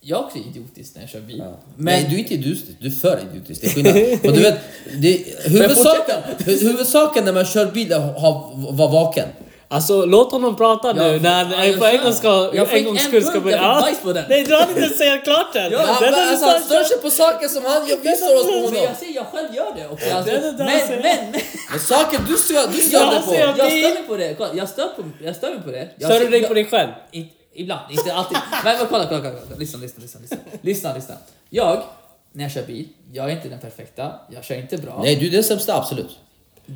S3: Jag är också idiotisk när jag kör bil. Alltså, Men
S1: Nej du är inte idiotisk, du är för idiotisk. Det är skillnad. Och du vet, det, huvudsaken, hu- huvudsaken när man kör bil är att ha- vara vaken.
S2: Alltså låt honom prata nu
S3: Jag-
S2: när han
S3: jag
S2: på en
S3: sa-
S2: gång ska...
S3: jag fick
S2: en gångs
S3: en
S2: skull ska
S3: punkt, jag
S2: börja...
S3: fick
S2: Ah,
S3: bajs på den.
S2: Nej, du hann inte säga klart den!
S3: Ja,
S2: Den
S1: Han,
S2: är
S1: alltså, han
S2: så-
S1: stör sig på saker som han, jag visar oss på
S3: men
S1: honom.
S3: jag ser, jag själv gör det också. Alltså,
S2: Mm. Det- det-
S3: men,
S2: det ser
S3: men,
S2: jag.
S3: men,
S1: Men saker du stör, du stör
S2: Jag
S1: dig på.
S2: ser-
S3: Jag stör mig på det. Kolla, Jag stör, på, jag stör mig på det. Jag
S2: Stör du
S3: ser-
S2: dig
S3: jag-
S2: på dig själv?
S3: I- Ibland, inte alltid. Men, men kolla, kolla, kolla, kolla. Lyssna, lyssna, lyssna, lyssna. Lyssna, lyssna. Jag, när jag kör bil, jag är inte den perfekta. Jag kör inte bra.
S1: Nej du är den sämsta, absolut.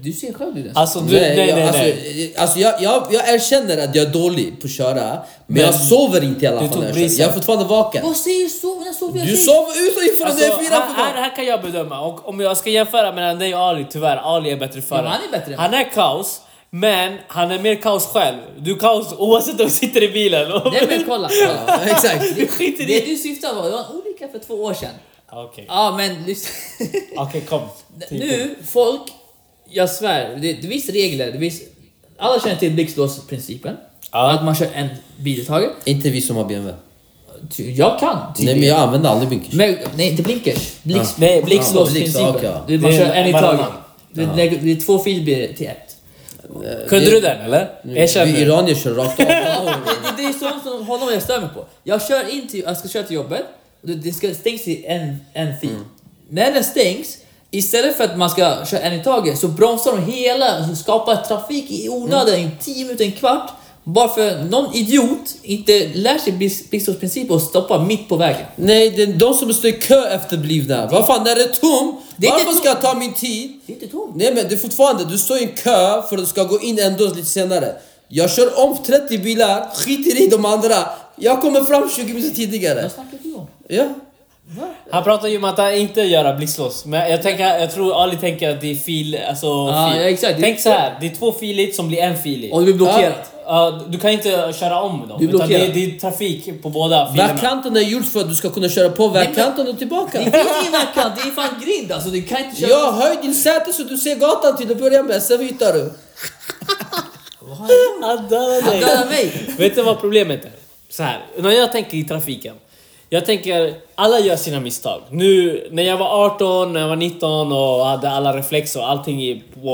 S3: Du ser själv hur den
S2: Alltså du... Nej, nej,
S1: jag,
S2: nej.
S1: Alltså, eh, alltså, jag, jag, jag erkänner att jag är dålig på att köra, men, jag sover inte i alla
S2: du
S1: fall
S2: tog
S1: när jag
S2: brisen.
S1: kör. Jag är fortfarande vaken.
S3: Vad säger du så? När sover jag?
S1: Du
S3: sist?
S1: sov utifrån
S2: Alltså,
S1: alltså, jag är fyra på
S2: här, här,
S1: gång.
S2: här kan jag bedöma, och om jag ska jämföra mellan dig och Ali, tyvärr, Ali är bättre förare.
S3: Ja, han är bättre.
S2: Han är kaos, men han är mer kaos själv. Du är kaos oavsett om du sitter i bilen. Och...
S3: Nej men kolla. kolla.
S1: Ja, exakt.
S2: Du skiter i...
S3: Det du syftar var, det var olika för två år sedan.
S2: Ah, Okej,
S3: Ja men lyssna.
S2: Okej, kom.
S1: typ.
S2: Typ.
S3: Nu, folk, jag svär, det, det finns regler. Det finns, alla känner till blixtlåsprincipen.
S2: Ja.
S3: Att man kör en bil i taget.
S1: Inte vi som har BMW.
S3: Ty- Jag kan
S1: Nej
S3: tydligen.
S1: men jag använder aldrig blinkers.
S3: Men, nej, inte blinkers. Blix,
S1: Ja.
S2: Nej,
S3: Blixtlåsprincipen.
S1: Ja, blix, ja, okej,
S3: Du, man
S2: Det är
S3: kör en i
S2: varannan.
S3: taget. Du, det, det är två filbilar till ett.
S2: Kunde
S1: det-
S2: du den eller? Erkänn
S1: Vi
S2: nu.
S1: iranier kör rakt av.
S3: Det, det är sånt som honom jag stör mig på. Jag kör in till, jag ska köra till jobbet, och det, det ska stängs i en, en fil. När den stängs, istället för att man ska köra en i taget, så bromsar de hela, så skapar trafik i onödan i 10 minuter, en kvart. Bara för någon idiot inte lär sig Bis- biståndsprincipen och stoppar mitt på vägen.
S1: Nej, det är de som står i kö efterblivna. Vad fan, när det är tom,
S3: Det är inte
S1: varför ska jag
S3: tomt.
S1: ta min tid?
S3: Det är inte tomt.
S1: Nej men det är fortfarande, du står i en kö för att du ska gå in ändå lite senare. Jag kör om 30 bilar, skiter i de andra. Jag kommer fram 20 minuter tidigare.
S3: Vad snackar du om?
S1: Ja.
S2: Han pratar ju om att han inte göra blixtlås, men jag, tänker, jag tror Ali tänker att det är fil... Alltså,
S3: Ja,
S2: fil.
S3: ja, exakt.
S2: Tänk så här, det är två filigt som blir en filig.
S3: Och du blir blockerad.
S2: Ja, du kan inte köra om dem,
S3: Du
S2: utan det,
S3: är blockerad.
S2: är- det är trafik på båda filerna.
S1: Vägkanten är gjord för att du ska kunna köra på vägkanten och
S3: Det
S1: tillbaka.
S3: finns ingen verkan, det är fan grind alltså. Du kan inte köra...
S1: Ja, höj din säte så du ser gatan till att börja med, sen hittar du.
S2: Han dödade dig.
S3: Döda mig!
S2: Vet du vad problemet är? Så här, när jag tänker i trafiken. Jag tänker, alla gör sina misstag. Nu när jag var 18, när jag var 19 och hade alla reflexer och allting i- på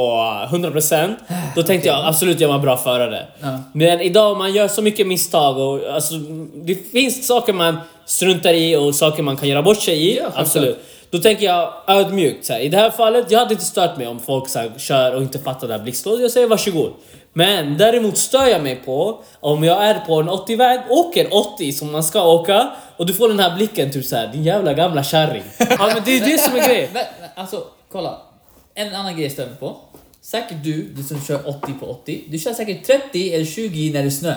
S2: 100% Då tänkte jag absolut jag var en bra förare.
S3: Ja.
S2: Men idag man gör så mycket misstag och alltså, det finns saker man struntar i och saker man kan göra bort sig i. absolut. Då tänker jag ödmjukt. Så här. I det här fallet, jag hade inte stört mig om folk så här, kör och inte fattar det här blixtlåset. Jag säger varsågod. Men däremot stör jag mig på om jag är på en 80-väg, åker 80 som man ska åka och du får den här blicken typ så här, din jävla gamla kärring. Ja men det är det som är grejen.
S3: Men, men, alltså, kolla. En annan grej jag stör mig på. Säkert du, du som kör 80 på 80. Du kör säkert 30 eller 20 när det är snö.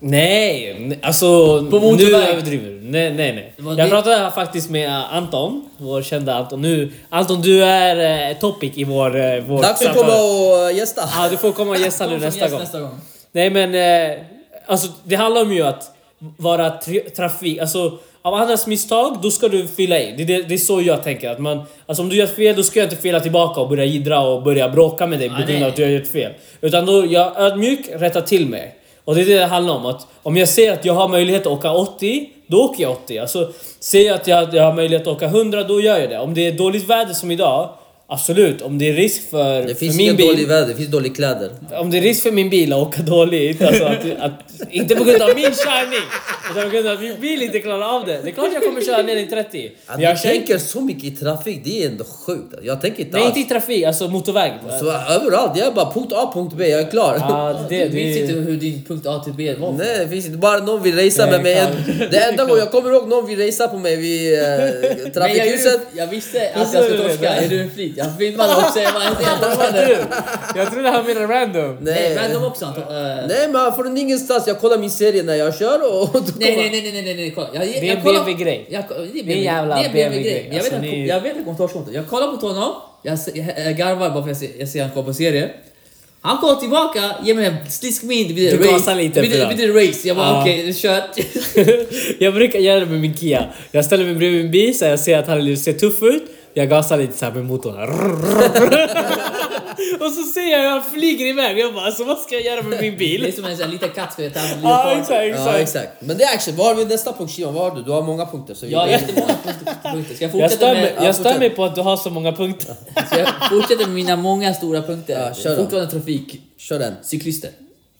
S2: Nej, ne- alltså
S3: På motorväg.
S2: nu överdriver du. Nej, nej, nej.
S3: Det var
S2: Jag
S3: det-
S2: pratade här faktiskt med Anton, vår kända Anton. Nu, Anton, du är eh, topic i vår, eh, vår
S1: Dags att komma och eh, gästa.
S2: Ja, du får komma och gästa
S3: Kom
S2: nu
S3: som
S2: nästa
S3: gäst
S2: gång.
S3: nästa gång.
S2: Nej men, eh, alltså det handlar om ju att vara tri- trafik, alltså av andras misstag, då ska du fylla i. Det, är det, det är så jag tänker. Att man, alltså om du gör fel, då ska jag inte fylla tillbaka och börja jiddra och börja bråka med dig på
S3: Nej,
S2: grund av
S3: nej.
S2: att du har gjort fel. Utan då, jag ödmjuk rättar till mig. Och det är det det handlar om. Att om jag ser att jag har möjlighet att åka 80, då åker jag 80. Alltså, ser jag att jag, jag har möjlighet att åka 100, då gör jag det. Om det är dåligt väder som idag, absolut. Om det är risk för,
S1: Det
S2: för
S1: finns
S2: min
S1: inget
S2: bil...
S1: dåligt väder, det finns dåliga kläder.
S2: Om det är risk för min bil att åka dåligt, alltså att, att, inte på grund av min körning, utan på grund av att min bil inte klarar av det. Det är klart jag kommer köra ner i 30.
S1: Att
S2: Men jag
S1: du
S2: kör-
S1: tänker så mycket i trafik, det är ändå sjukt. Jag tänker inte
S2: Nej,
S1: alls.
S2: inte i trafik, alltså motorväg.
S1: Så överallt, jag är bara punkt A, punkt B, jag är klar.
S2: Ja, det,
S3: Jag minns inte
S2: det,
S3: hur din punkt A till B var.
S1: Nej det finns inte, bara någon vill racea med
S2: Nej,
S1: mig.
S2: fan.
S1: En- Det enda gången jag kommer ihåg någon vill racea på mig vid eh,
S3: Men jag,
S1: trafikljuset.
S3: gjorde- jag visste att
S2: sa
S3: jag
S2: du
S3: skulle
S2: det,
S3: torska,
S2: va?
S3: jag gjorde en flit. Jag filmade också, jag var helt ensamma.
S2: jag trodde han menade random.
S3: Nej,
S1: Nej,
S3: random också antar eh,
S1: nej men från ingenstans, jag kollar min serie när jag kör och... och då
S3: Nej,
S1: kommer-
S3: Eh, nej, nej, nej, nej, nej, nej, kolla. Jag, jag,
S2: Det är en
S3: kollar-
S2: BMW-grej.
S3: Jag, koll- det är
S2: en
S3: BMW,
S2: jävla
S3: det är
S2: BMW-grej.
S3: BMW-grej. Jag,
S2: Alltså,
S3: vet att-
S2: ni-
S3: jag vet att hon torskar inte. Jag kollar mot honom, jag, se- jag, jag garvar bara för att jag ser, jag ser han kollar på serie. Han kollar tillbaka, ger mig en slisk min, det blir
S2: Du
S3: race.
S2: gasar lite,
S3: det blir,
S2: bra.
S3: det blir race. Jag bara
S2: Ja.
S3: okej, okay, kört.
S2: jag brukar göra det med min Kia. Jag ställer mig bredvid min bil så jag ser att han ser tuff ut. Jag gasar lite såhär med motorn. och så ser jag hur han flyger iväg. Jag bara alltså vad ska jag göra med min
S3: Det är
S2: bil?
S3: som en sån här liten katt som tävlar med
S2: Ja
S3: leopard.
S2: exakt,
S1: Ja
S2: exakt.
S1: exakt. Men det är action, vad har vi nästa punkt Shimon? Vad har du? Du har många punkter. Så vi
S3: Jag har
S1: börjar.
S3: jättemånga punkter- punkter. Ska jag
S2: Jag
S3: fortsätta
S2: stör, mig,
S3: med,
S1: ja,
S2: jag stör
S1: fortsätt.
S2: mig på att du har så många punkter.
S3: ska jag fortsätta med mina många stora punkter?
S1: Ja, kör då.
S3: Fortfarande trafik.
S1: Kör den.
S3: Cyklister.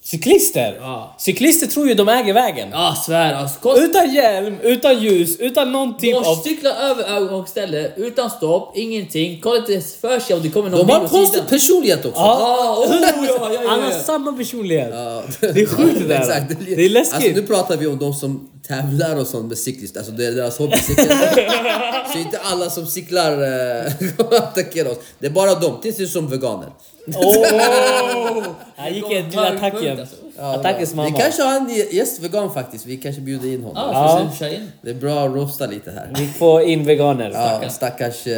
S2: Cyklister?
S3: Ja.
S2: Cyklister tror ju de äger vägen.
S3: Ja, svär. Alltså, kolla
S2: Utan hjälm, utan ljus, utan någon typ av...
S3: Morscyklar över övergångsställe utan stopp, ingenting. Kolla inte ens för sig om det kommer någon
S1: De
S3: bil
S1: har
S3: på sidan.
S1: konstig personlighet också.
S3: Ja, oh, ja, ja,
S2: Han har
S3: ja, ja.
S2: samma personlighet.
S1: Ja.
S2: Det är sjukt det där.
S1: Exakt.
S2: Det är läskigt.
S1: Alltså, nu pratar vi om de som tävlar och sånt med cyklist, alltså det är deras hobby cykel. Så inte alla som cyklar eh, attackerar oss. Det är bara de, tills det är som veganer. Alltså,
S2: Åh! Han gick
S3: Det var en
S2: till
S3: mörk
S2: attacken.
S3: punkt, alltså.
S1: Ja,
S2: Attackens
S1: bra.
S2: mamma.
S1: Vi kanske har en gäst vegan faktiskt, vi kanske bjuder in honom.
S3: Ja,
S2: Ja.
S3: så kör in.
S1: Det är bra att roasta lite här.
S2: Vi får in veganer.
S1: Ja, stackars... eh,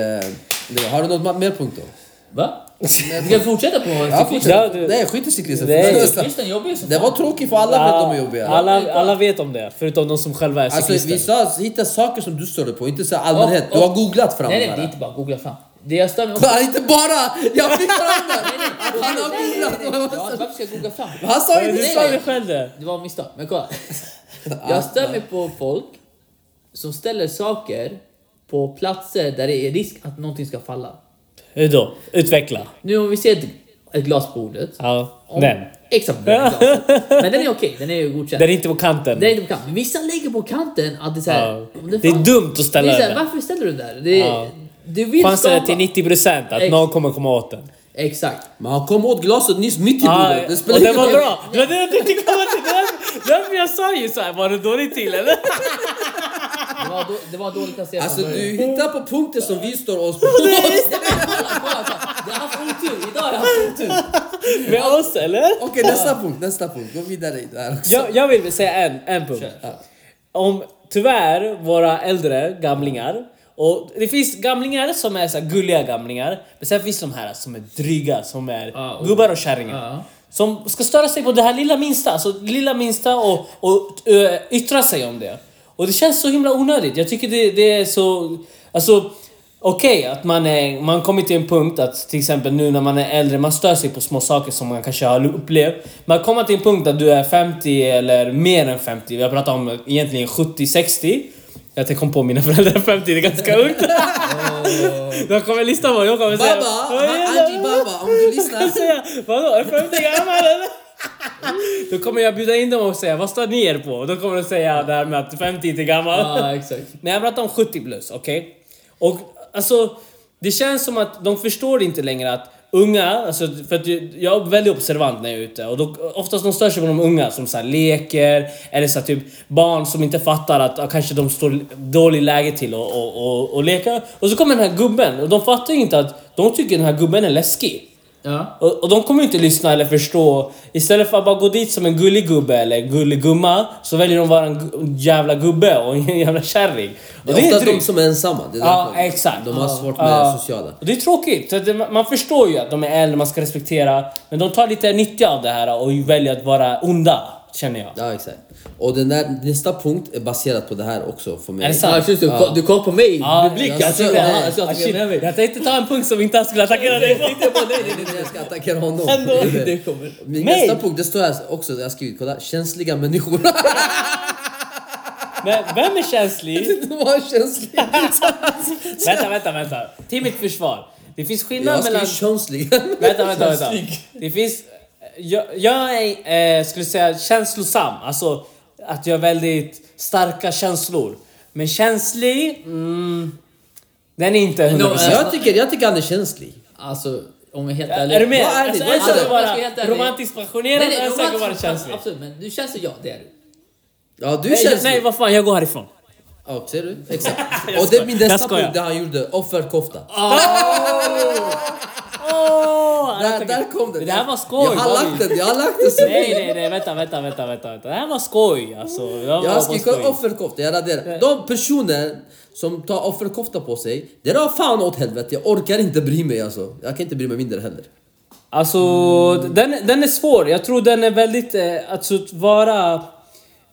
S1: det- har du något ma- mer punkt då?
S3: Va? Ska jag fortsätta på
S1: Ja,
S3: cyklister?
S1: fortsätt.
S2: Ja, du-
S1: Nej, skit i cyklisten.
S2: Nej.
S3: Cyklisten jobbar ju som
S1: Det
S3: fan.
S1: var tråkigt för alla för att de är jobbiga.
S2: alla, alla vet om det, förutom de som själva är
S1: Alltså
S2: cyklister.
S1: vi sa hitta saker som du störde på, inte så här allmänhet.
S3: Och-
S1: Du
S3: och-
S1: har googlat fram
S3: Nej,
S1: de
S3: nej, det
S1: här.
S3: är inte bara googla fram. Det jag stör mig också...
S1: Kolla, inte bara! Jag fick fram den! Han har
S3: Nej, nej, nej, nej.
S1: googlat!
S3: Ja, Varför ska jag googla fram?
S1: Han sa ju
S2: Men du
S1: det!
S2: sa ju själv det.
S3: Det var ett misstag, men kolla. Jag stör mig på folk som ställer saker på platser där det är risk att någonting ska falla.
S2: Hur då? Utveckla.
S3: Nu om vi ser ett, ett glas på bordet.
S2: Ja,
S3: Om-
S2: den.
S3: Exakt. Den glaset. Men den är okej, den är ju godkänd.
S2: Den är inte på kanten.
S3: Den är inte på kanten. Vissa lägger på kanten att det är såhär...
S2: Ja. Det är dumt att ställa den där.
S3: Varför ställer du den där? Det,
S2: Ja.
S3: Du vill
S2: Chansen är
S3: skapa...
S2: till 90% att
S3: Ex-
S2: någon kommer komma åt den.
S3: Exakt.
S1: Men han kom åt glaset nyss, mitt i
S2: Ja,
S1: bordet. Det spelar
S2: och den
S1: ingen
S2: var
S1: roll.
S2: bra! Det var det jag tänkte komma till! Det var- Därför jag sa ju såhär, var det dåligt till eller?
S3: Det var, då, det var dåligt placerat
S1: Alltså
S3: från början.
S1: du hittar på punkter som vi står oss på.
S3: Kolla, kolla, kolla. Jag har haft otur. Idag har jag haft otur.
S2: Med oss eller?
S1: Typ. Okej nästa punkt, nästa punkt. Gå vidare i det här också.
S2: Jag, jag vill väl säga en, en punkt.
S3: Kör.
S2: Om tyvärr våra äldre gamlingar och det finns gamlingar som är så här gulliga gamlingar men sen finns de här som är dryga som är
S3: Ja, och-
S2: gubbar och kärringar.
S3: Ja.
S2: Som ska störa sig på det här lilla minsta, alltså det lilla minsta och, och ö, yttra sig om det. Och det känns så himla onödigt. Jag tycker det, det är så... Alltså, okej att man, är, man kommer till en punkt att till exempel nu när man är äldre, man stör sig på små saker som man kanske har upplevt. Man kommer till en punkt att du är 50 eller mer än 50, jag pratar om egentligen 70-60. Jag kom på mina föräldrar är 50, det är ganska ungt. De kommer lyssna på det, de kommer säga...
S1: Oh. Baba,
S2: "Vad är det?"
S1: han- Angie Baba, om du lyssnar.
S2: Jag säga, vadå är 50 gammal eller? Då kommer jag bjuda in dem och säga, vad står ni er på? Då kommer de säga det här med att 50 inte är gammal.
S3: Ja, exakt.
S2: Nej, jag pratar om 70 plus, okej? Och alltså, det känns som att de förstår inte längre att unga, alltså, för att ju- jag är väldigt observant när jag är ute och då, oftast de stör sig på de unga som så här leker eller så här, typ barn som inte fattar att ja, kanske de står dåligt läge till och, och, och, och leker. Och så kommer den här gubben och de fattar ju inte att de tycker den här gubben är läskig.
S3: Ja.
S2: Och, och de kommer inte lyssna eller förstå. Istället för att bara gå dit som en gullig gubbe eller gullig gumma så väljer de vara en gu- jävla gubbe och en jävla kärring. Och
S1: Det är ofta de
S2: drygt.
S1: som är ensamma. Det är
S2: Ja,
S1: därför.
S2: exakt.
S1: De har
S2: Ja.
S1: svårt med
S2: Ja.
S1: sociala.
S2: Och det är tråkigt. Så att det- Man förstår ju att de är äldre, man ska respektera. Men de tar lite nytta av det här och väljer att vara onda. känner jag.
S1: Ja, exakt. Och den där, nästa punkt är baserat på det här också för mig.
S2: Är det sant?
S3: Ja, just det, du, du kollade på mig,
S2: Ja,
S3: du blickade.
S1: alltså, jag
S3: Jag
S1: ser
S3: tänkte
S1: det.
S3: aha, jag ska
S2: Ah, shit.
S3: med mig.
S2: Jag tänkte ta en punkt som inte alls skulle attackera dig på.
S1: Jag bara, nej, nej, nej, nej, jag ska attackera honom.
S2: Ändå.
S1: Det är det.
S3: Det kommer.
S1: Min
S2: Nej.
S1: nästa punkt, det står här också, jag har skrivit, kolla, känsliga människor.
S2: Men vem är känslig?
S1: det var känslig.
S2: vänta, vänta, vänta. Till mitt försvar. Det finns
S1: Jag har
S2: skillnad mellan...
S1: skrivit könsliga.
S2: alltså- Vänta, vänta, vänta.
S3: Snygg.
S2: Det finns... Jag, jag är, eh, skulle säga känslosam, alltså att jag har väldigt starka känslor. Men känslig, mm, den är inte 100%.
S3: No,
S1: Jag tycker, jag tycker han är känslig.
S3: Alltså, om jag är helt ärlig.
S2: är du med?
S1: Vad är det?
S2: Alltså,
S1: Vad är
S2: en
S1: det?
S2: sak att
S3: Jag ska helt
S2: vara
S3: ärlig.
S2: romantiskt passionerad och en sak att vara
S3: romantisk-
S2: känslig.
S3: Absolut, men du känns som jag, det är du.
S1: Ja, du är
S2: Nej, jag-
S1: känslig.
S2: nej, vad fan, jag går härifrån.
S1: Ja, ser du? Exakt. Och det är min nästa
S2: skojar.
S1: punkt där han gjorde offerkofta.
S2: Åh,
S1: där, där kom det.
S2: Det här var skoj.
S1: Jag har
S2: Bobby.
S1: lagt den, jag har lagt den. sen-
S2: Nej, nej, nej, vänta, vänta, vänta, vänta, vänta. Det här var skoj alltså. Jag,
S1: Jag
S2: var
S1: har
S2: på skoj.
S1: skrivit offerkofta, jag raderar. De personer som tar offerkofta på sig, det är fan åt helvete. Jag orkar inte bry mig alltså. Jag kan inte bry mig mindre heller.
S2: Alltså, den, den är svår. Jag tror den är väldigt... Eh, alltså, att vara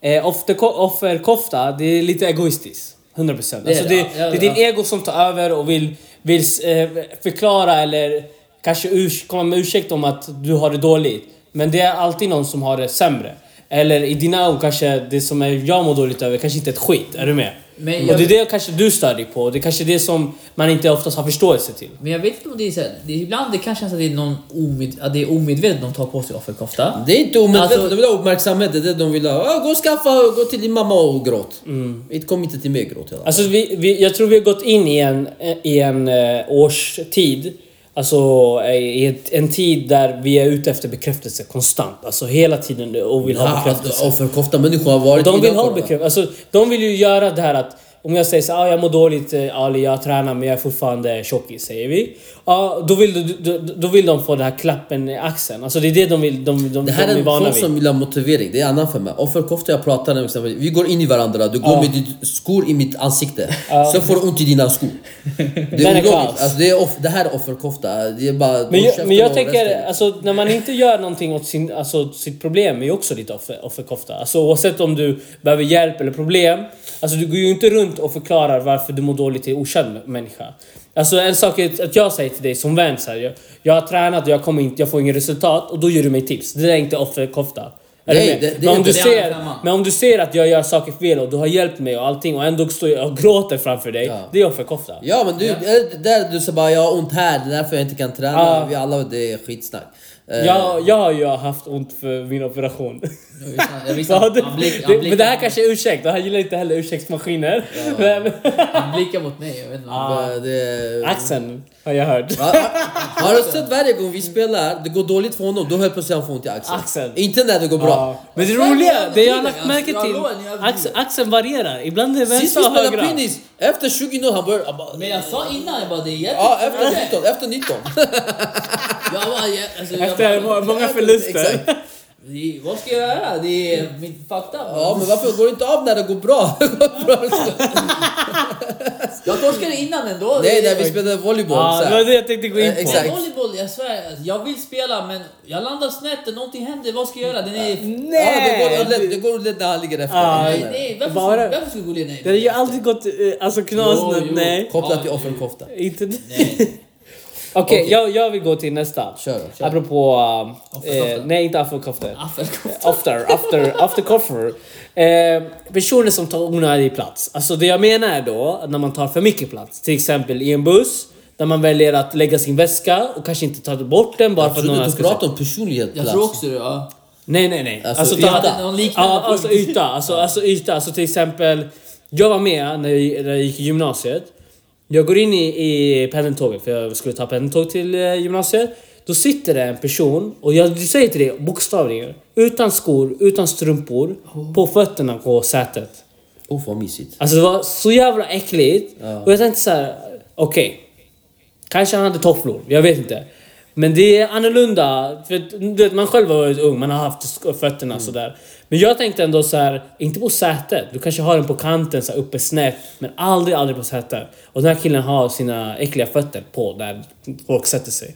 S2: eh, offer- offerkofta, det är lite egoistiskt. 100%. Alltså, det,
S3: Det är
S2: är
S3: det,
S2: det,
S3: ja, ja,
S2: är din
S3: ja.
S2: ego som tar över och vill, vill eh, förklara eller kanske urs- komma med ursäkt om att du har det dåligt. Men det är alltid någon som har det sämre. Eller i dina ögon kanske det som är jag mår dåligt över kanske inte är ett skit. Är du med?
S3: Men
S2: Och
S3: jag-
S2: det är det kanske du stör dig på. Det är kanske det som man inte oftast har förståelse till.
S3: Men jag vet inte om det är så här, det är ibland det kan kännas att det är, någon omed, att det är omedvetet de tar på sig offerkofta.
S1: Det är inte omedvetet,
S3: Alltså-
S1: de vill ha uppmärksamhet. Det är det de vill ha. Ja, Gå och skaffa, gå till din mamma och gråt. Inte Kom inte till mig och gråt. hela.
S2: Mm. Alltså vi, vi, jag tror vi har gått in i en, i en eh, årstid. Alltså eh, i ett, en tid där vi är ute efter bekräftelse konstant. Alltså hela tiden och vill ha
S1: Ja, alltså,
S2: bekräftelse.
S1: offerkofta människor har varit
S2: De vill
S1: inne på
S2: ha
S1: det.
S2: bekräftelse. Alltså, de vill ju göra det här att om jag säger så ah, jag mår dåligt eh, Ali, jag tränar men jag är fortfarande tjockis, säger vi. Ja, då, vill, du- då, då vill de få den här klappen i axeln. Alltså det är det de vill, de, de,
S1: Det här
S2: de
S1: är
S2: är vana
S1: folk
S2: vid.
S1: som vill ha motivering, det är annan för mig. Offerkofta jag pratar om exempelvis, vi går in i varandra, du går med ditt skor i mitt ansikte. Sen får du ont i dina skor. Det
S2: är
S1: är
S2: kaos.
S1: ologiskt. Alltså, det, är off- det här är offerkofta. Det är bara...
S2: Men
S1: håll
S2: jag,
S1: käften
S2: men
S1: och
S2: jag tänker,
S1: resten.
S2: alltså, när man inte gör någonting åt sin, alltså, sitt problem är ju också lite offer, offerkofta. Alltså, oavsett om du behöver hjälp eller problem. Alltså, du går ju inte runt och förklarar varför du mår dåligt till okänd människa. Alltså, en sak är att jag säger till dig som vän så här, jag, jag har tränat, jag, kommer inte, jag får inget resultat och då ger du mig tips. Det där är inte offerkofta. Är du
S1: Nej,
S2: med?
S1: det- det är
S2: men, om
S1: inte
S2: du
S1: det.
S3: Det är
S2: ser,
S3: en femma.
S2: men om du ser att jag gör saker fel och du har hjälpt mig och allting och ändå står jag och gråter framför dig. Det är offerkofta.
S1: Ja men du, eh, där du säger bara jag har ont här, det är därför jag inte kan träna.
S2: Ja.
S1: Vi alla, det är skitsnack. Eh,
S2: Jag, jag har ju haft ont för min operation.
S3: Jag visste- jag visste-
S2: Vad har du-
S3: han blick- han
S2: det,
S3: blickar-
S2: men det här kanske är ursäkt, han gillar inte heller ursäktsmaskiner. Men,
S3: Han blickar mot mig, jag vet inte. om-
S1: eh, det-
S2: axeln har jag hört.
S1: Ja, har- Har du sett varje gång vi spelar, det går dåligt för honom, då helt plötsligt han får ont i axeln.
S2: Axeln.
S1: Inte när det går bra.
S2: Ja. Men det
S3: Vem
S2: roliga,
S3: gör
S2: det jag har
S3: det?
S2: lagt märke
S3: Alltså,
S2: till,
S3: hallå, ni överdriver.
S2: axeln, axeln varierar. Ibland är det
S1: Sist
S2: vänstra
S1: vi
S2: och
S1: spelade
S2: högra.
S1: pinnis, efter 20 han började... han bara-
S3: Men jag sa innan, jag bara det är jävligt
S1: Ja, efter 19, efter 19.
S3: Jag bara, jag, alltså, jag
S2: Efter
S3: bara,
S2: må- många förluster.
S1: Exakt.
S3: det, vad ska jag göra? Det är min fakta.
S1: Ja, men varför går det inte av när det går bra?
S3: Jag torskade innan ändå.
S1: Nej,
S3: Det
S1: när
S3: är-
S1: vi spelade volleyboll.
S2: Ja,
S1: så
S2: det var
S1: här.
S2: det jag tänkte gå in
S1: Eh,
S2: på.
S1: exakt.
S3: Men volleyboll, jag svär, alltså, jag vill spela men jag landar snett och någonting händer, vad ska jag göra? Den är...
S1: Ja, det går
S2: Nej!
S1: ordentligt- det går ordentligt när han ligger efter.
S2: Ja,
S1: Nej,
S3: Nej,
S1: nej.
S3: nej, varför,
S2: Bara-
S3: varför skulle Gulli nej?
S2: Det har ju aldrig gått eh, alltså
S3: Jo,
S2: knasigt,
S3: jo.
S2: nej.
S1: Kopplat till offerkofta.
S2: Inte
S3: Nej.
S2: Okej, jag, jag vill gå till nästa.
S1: Kör då, kör.
S2: Apropå... eh,
S3: Offerkofta.
S2: nej, inte afrokoftor.
S3: Affelkofta.
S2: after, after, after cover. Eh, personer som tar onödig plats. Alltså det jag menar är då när man tar för mycket plats. Till exempel i en buss där man väljer att lägga sin väska och kanske inte ta bort den bara
S1: Jag
S2: för att någon
S1: trodde
S2: annan
S1: du
S2: ska se.
S1: pratade om personlighet.
S3: Jag
S1: Lasse.
S3: tror också det. Ja.
S2: Nej, nej, nej.
S1: Alltså,
S2: ta-
S1: yta.
S3: Hade någon liknande
S2: ja, alltså
S3: punkt.
S2: yta. Alltså, alltså yta. Alltså till exempel, jag var med när jag, när jag gick i gymnasiet. Jag går in i, i pendeltåget för jag skulle ta pendeltåg till eh, gymnasiet. Då sitter det en person och jag säger till dig bokstavligen. Utan skor, utan strumpor,
S3: Oh.
S2: på fötterna på sätet.
S1: Åh, vad mysigt.
S2: Alltså det var så jävla äckligt. Och jag tänkte så här: okej. Kanske han hade tofflor, jag vet inte. Men det är annorlunda. För att, du vet, man själv har varit ung, man har haft sk- fötterna sådär. Men jag tänkte ändå så här: inte på sätet. Du kanske har den på kanten, så här, uppe snett. Men aldrig, aldrig på sätet. Och den här killen har sina äckliga fötter på där folk sätter sig.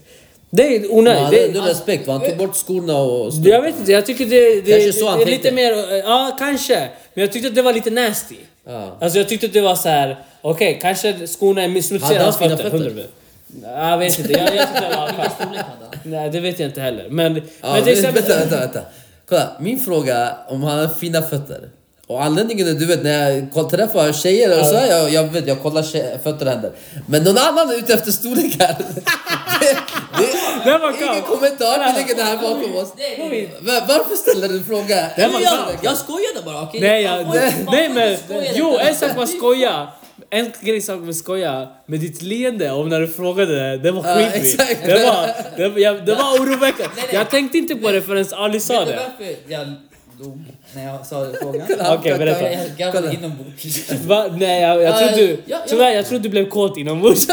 S2: Det är
S1: Han
S2: onödigt.
S1: hade
S2: Det,
S1: ändå respekt, va? han tog bort skorna och... stod-
S2: jag vet inte, jag tycker det, det,
S1: Kanske så han
S2: det är lite
S1: tänkte.
S2: mer... eh, Ja, kanske. Men jag tyckte att det var lite nasty.
S1: Ja.
S2: Alltså jag tyckte att det var så här. okej kanske skorna är
S1: Hade
S2: smutsiga
S1: han
S2: hans
S1: fina
S2: fötter.
S1: fötter?
S2: 100%. Jag vet inte, jag, jag tyckte det var skönt.
S3: Storlek hade han?
S2: Nej, det vet jag inte heller. Men,
S1: Ja,
S2: men till
S1: men,
S2: exempel...
S1: vänta, vänta, vänta. Kolla, min fråga om han har fina fötter. Och anledningen är, du vet när jag koll- träffar tjejer och så, här, jag, jag vet, jag kollar tje- fötter och händer. Men någon annan är ute efter storlekar. det, det,
S2: Den var
S1: ingen
S2: kall.
S1: kommentar, vi lägger det här bakom oss.
S3: Nej, nej, nej.
S1: Va- Varför ställer du en fråga?
S2: Den var
S3: Jag-
S2: kall.
S3: Jag skojade bara, okej?
S2: Nej,
S3: Man
S2: jag,
S3: får inte- man får
S2: nej
S3: inte
S2: men...
S3: skoja
S2: Jo,
S3: detta.
S2: en sak man skojar. En grej sak man skojar med ditt leende om när du frågade det, det var
S1: Ja,
S2: skitvigt.
S1: exakt.
S2: det var, det, jag, det var oroväckande.
S3: Nej, nej.
S2: Jag tänkte inte på det förrän Ali sa
S3: Vet du
S2: det.
S3: varför jag dog när jag sa det frågan?
S2: Okej, berätta.
S3: Jag är gammal
S1: Kolla.
S3: inombords.
S2: Va? Nej, jag, jag
S3: Ja,
S2: tror du...
S3: ja, ja.
S2: Tyvärr, jag tror du blev kåt inombords.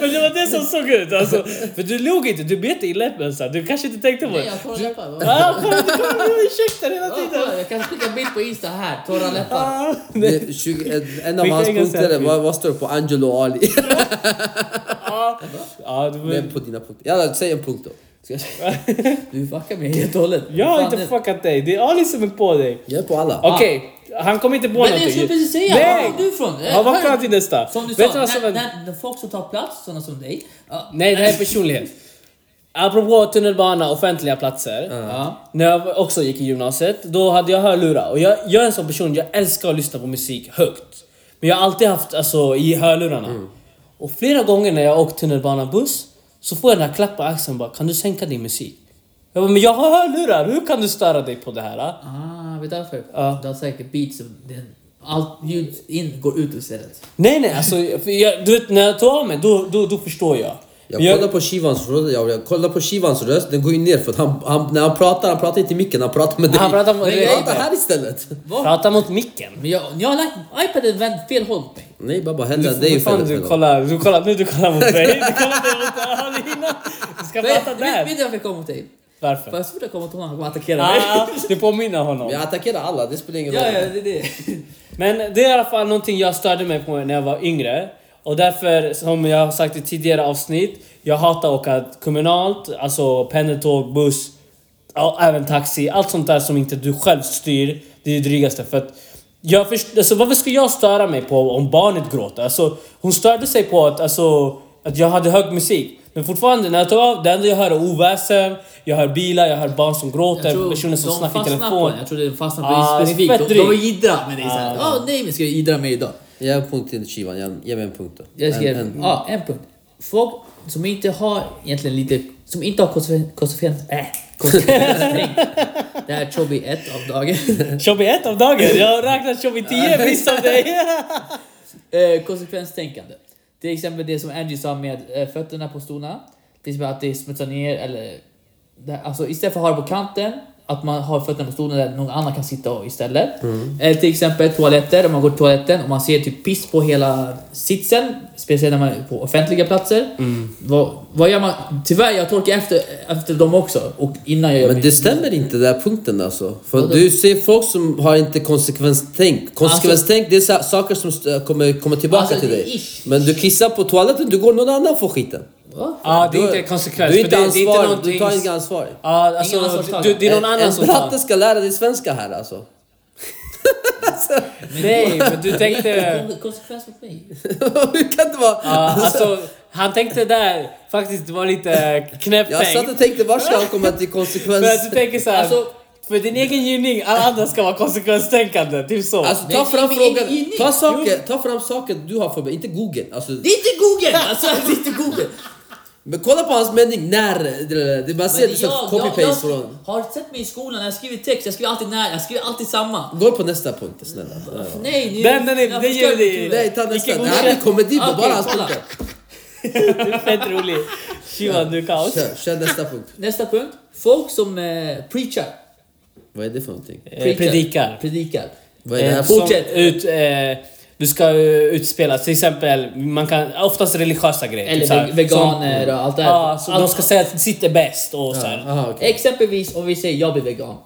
S2: Men det var det som såg ut alltså. För du log inte, du bet dig i läppen så här. Du kanske inte tänkte på
S3: Nej,
S2: det.
S3: jag har torra läppar. va?
S2: Ah, kolla, du kommer med ursäkter hela
S3: Ja,
S2: tiden!
S3: kolla, Jag kan skicka en bild på Insta här, torra läppar.
S2: Ah, nej.
S1: Det, 20, en- en av
S2: Skicka
S1: hans
S2: ingen
S1: punkter,
S2: selfie.
S1: vad, vad står det på? Angelo och Ali?
S2: Ah, ah, du,
S1: Men på dina punkter. Ja, säg en punkt då.
S3: Ska jag säga? Du fuckar mig helt och hållet.
S2: jag har
S3: Fan,
S2: inte
S3: det- Ah.
S2: fuckat dig, det är Ali som är på dig.
S1: Jag är på alla.
S2: Okej, han kom inte på
S3: Men
S2: någonting.
S3: jag skulle precis säga, var
S2: Nej!
S3: kom du ifrån? Eh,
S2: Han var
S3: hör-
S2: klar till nästa.
S3: Som du
S2: Vet
S3: sa,
S2: vad som
S3: när,
S2: hände?
S3: när, när folk som tar plats, sådana som dig. Ja,
S2: Nej, det här är personlighet. Apropå tunnelbana, offentliga platser.
S3: ja.
S2: När jag också gick i gymnasiet, då hade jag hörlurar. Och jag, jag är en sån person, jag älskar att lyssna på musik högt. Men jag har alltid haft alltså, i hörlurarna. Och flera gånger när jag åkt tunnelbana buss så får jag den här klappen på axeln bara Kan du sänka din musik? Jag bara, men jag har hörlurar, hur kan du störa dig på det här? ah?"
S3: Ah, vet du varför?
S2: Ja.
S3: Du har säkert beats som den, allt ljud in går ut istället.
S2: Nej nej, alltså, för jag, du vet när jag tar av mig då, då, då förstår jag.
S1: Jag
S2: Men jag-
S1: kollar på Shivans röst, jag, jag kollar på Shivans röst, den går ju ner för att han, han, när han pratar, han pratar inte i micken, han pratar med dig.
S2: Han pratar med
S1: Men
S2: dig.
S1: Prata här istället.
S3: Vad?
S2: Prata mot micken.
S3: Men jag, jag har lagt iPaden vänd fel håll på mig.
S1: Nej babba, hellre
S2: Du-
S1: dig
S2: vad fan, du kollar, du kollar, nu du kollar mot mig, du kollar inte mot Alina. Du ska
S3: Vet
S2: prata
S3: vet- vet
S2: där.
S3: du varför jag kommer till dig? För
S2: Varför?
S3: jag tror jag kommer till honom, han kommer attackera mig.
S2: Ah, du påminner
S1: Jag
S2: honom.
S1: attackerar alla, det spelar ingen
S3: Ja,
S1: roll.
S3: ja, det är det.
S2: Men det är i alla fall någonting jag störde mig på när jag var yngre. Och därför, som jag har sagt i tidigare avsnitt, jag hatar att åka kommunalt, alltså pendeltåg, buss, ja, även taxi. Allt sånt där som inte du själv styr, det är det drygaste. För att jag först- alltså, varför ska jag störa mig på om barnet gråter? Alltså, hon störde sig på att, alltså, att jag hade hög musik. Men fortfarande, när jag tar av, det enda jag hör är oväsen, jag hör bilar, jag hör barn som gråter, personer som
S3: de
S2: snackar i
S3: fastnar
S2: telefon.
S3: På, den. jag tror de fastnar på
S2: Ah,
S3: ah,
S2: det är
S3: specifikt.
S2: fett
S3: De,
S2: drygt.
S3: de idrar med dig såhär.
S2: Ah.
S3: Ah. nej, men ska jag idra mig idag?
S1: Ge en punkt till Shivan, ge, ge mig en punkt då.
S3: Jag skrev,
S1: En- en-
S3: Ja, en punkt. Folk som inte har egentligen lite, som inte har konsekven- konsekvens... Äh, konsekvenstänk. det här är Chobby 1 av dagen.
S2: Chobby ett av dagen. Jag har räknat Chobby 10 visst av dig.
S3: eh, konsekvenstänkande. Till exempel det som Angie sa med eh, fötterna på stolarna. Till exempel att det smutsar ner eller... Det, alltså istället för att ha det på kanten, att man har fötterna på stolen där någon annan kan sitta och istället.
S1: Mm.
S3: Eller till exempel toaletter, om man går till toaletten och man ser typ piss på hela sitsen. Speciellt när man är på offentliga platser.
S1: Mm.
S3: Vad, vad gör man? Tyvärr, jag torkar efter, efter dem också. Och innan jag gör
S1: Men
S3: min-
S1: det stämmer inte den där punkten alltså. För
S3: Vadå?
S1: du ser folk som har inte konsekvenstänk.
S2: Alltså-
S1: Konsekvenstänk det är så här, saker som st- kommer komma tillbaka
S3: Alltså,
S1: till
S3: det är
S1: dig.
S3: ish.
S1: Men du kissar på toaletten, du går någon annan får skiten.
S3: Va?
S2: Ja, det är
S1: Du-
S2: inte konsekvens.
S1: Du är inte
S2: för det, det är inte
S1: ansvarig, du
S2: någonting...
S1: tar inte ansvar.
S2: Ja, alltså,
S3: Ingen ansvarstagare.
S2: du, det är någon
S1: En-
S2: annan
S1: en
S2: som tar.
S1: bratte ska lära dig svenska här alltså.
S2: Nej, men du tänkte...
S3: Kon- Konsekvens mot mig.
S1: Hur kan det vara?
S2: Ja, alltså, han tänkte där faktiskt det var lite knäppt
S1: jag satt
S2: tänkt.
S1: och tänkte vart ska han komma till konsekvens?
S2: För att du tänker såhär...
S3: Alltså-
S2: för din egen gynning, alla andra ska vara konsekvenstänkande. Typ så.
S1: Alltså
S3: Nej,
S1: ta fram
S3: men ingen
S1: frågan,
S3: gynning.
S1: ta, saker, ta fram saker du har för mig, inte google. Alltså,
S3: Det är inte Google! Alltså, det är inte Google.
S1: men kolla på hans mening, när, det- det, det man ser det
S3: Men
S1: som copy-paste från...
S3: Har du sett mig i skolan när jag skriver text? Jag skriver alltid när, jag skriver alltid samma.
S1: Gå på nästa punkt snälla.
S3: Nej, nu,
S2: Den- den är-
S3: jag
S2: den
S3: förstör
S2: ger dig-
S3: mitt huvud.
S1: Nej ta nästa, det
S2: Vilken god
S1: här är
S2: chef.
S1: komedi,
S3: Okej,
S1: bara hans
S3: kolla.
S1: punkter.
S2: Du är fett rolig. Shivan, du är kaos.
S1: Kör, kör nästa punkt.
S3: Nästa punkt. Folk som eh, preachar.
S1: Vad är det för någonting?
S2: Eh, Predikar.
S3: Predikar.
S1: Vad är det här
S2: Eh,
S1: för
S2: som
S3: Fortsätt.
S2: ut, eh, du ska eh, utspela till exempel, man kan, oftast religiösa grejer.
S3: Eller
S2: typ så här,
S3: veg-
S1: eh,
S3: veganer och allt det här.
S2: Ja, så de
S3: Allt-
S2: ska säga att sitt är bäst och så här.
S1: Aha, okej.
S2: Mm.
S3: Exempelvis om vi säger jag blir vegan.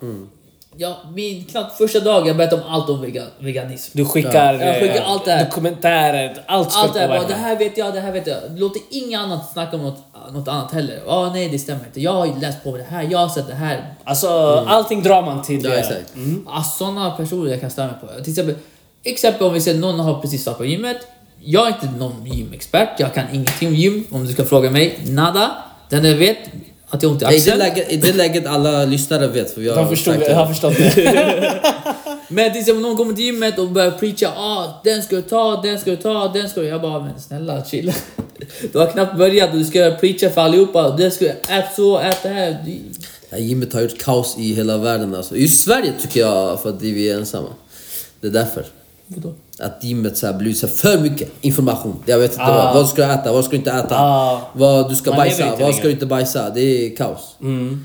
S3: ja, min knappt första dag jag berättade om allt om vegan, veganism.
S2: Du skickar,
S3: Ja. Jag skickar
S2: eh,
S3: allt det här.
S2: dokumentärer, allt ska
S3: Allt det här, bara,
S2: påverka.
S3: det här vet jag, det här vet jag. Låter inga annat snacka om något, något annat heller. Ja, nej det stämmer inte. Jag har ju läst på med det här, jag har sett det här.
S2: Alltså allting drar man till.
S1: Mm.
S2: eh,
S1: Ja,
S2: det.
S1: exakt.
S3: Alltså, sådana personer jag kan störa mig på. Till exempel, exempel om vi ser någon har precis startat på gymmet. Jag är inte någon gymexpert, jag kan ingenting om gym. Om du ska fråga mig, nada. Den jag vet att jag har ont i
S1: I det,
S3: axeln.
S1: läget, I det läget alla lyssnare vet för vi har
S2: De förstod,
S1: sagt
S2: jag har förstått det.
S3: Men till exempel om någon kommer till gymmet och börjar preacha ah, den ska du ta, den ska du ta, den ska du... Jag bara, men snälla chill. Du har knappt börjat och du ska preacha för allihopa. Den ska ät så, ät det här. Du-
S1: Det här gymmet har gjort kaos i hela världen alltså. I Sverige tycker jag för att vi är ensamma. Det är därför.
S3: Vadå?
S1: Att gymmet så här blir så här för mycket information. Jag vet inte
S2: Ah.
S1: vad. Vad ska du äta? Vad ska du inte äta?
S2: Ah.
S1: Vad du ska
S2: Man lever
S1: bajsa?
S2: inte
S1: Vad
S2: längre.
S1: ska du inte bajsa? Det är kaos.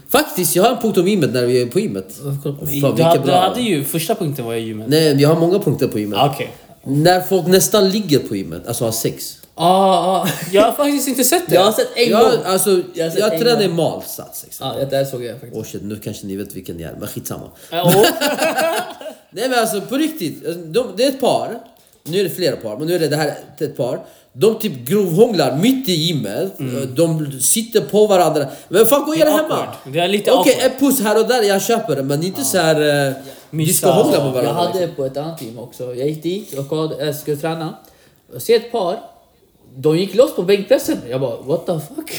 S1: Faktiskt, jag har en punkt om gymmet när vi är på gymmet.
S3: kolla på-
S1: Fan,
S2: du,
S1: vilka
S2: hade, du
S1: bra.
S2: hade ju, Ah. första punkten var ju gymmet.
S1: Nej, vi har många punkter på gymmet.
S2: Okej.
S1: När folk nästan ligger på gymmet, alltså har sex.
S3: Ah, ah.
S2: Jag har faktiskt inte sett det.
S3: Jag har sett en gång.
S1: Jag, alltså,
S3: Jag har
S1: jag,
S3: sett en
S1: tränade i
S3: gång. Ah.
S1: mal, satt sex.
S3: Ja, det där såg jag faktiskt.
S1: Åh shit, nu kanske ni vet vilken jag är, men skitsamma.
S2: Ja, Eh, och-
S1: Nej men alltså på riktigt, Alltså, de, det är ett par, nu är det flera par, men nu är det det här ett par. De typ grovhånglar mitt i gymmet, Eh, de sitter på varandra. Men fan gå och gör det hemma!
S2: awkward. Mm. Det är lite
S1: Okej,
S2: awkward.
S1: en puss här och där, jag köper det, men inte så här. eh, Vi ska
S2: Missa.
S1: hångla på varandra.
S3: Jag hade
S1: liksom.
S3: på ett annat gym också. Jag gick dit och kollade, jag skulle träna. Jag ser ett par. De gick loss på bänkpressen. Jag bara, what the fuck?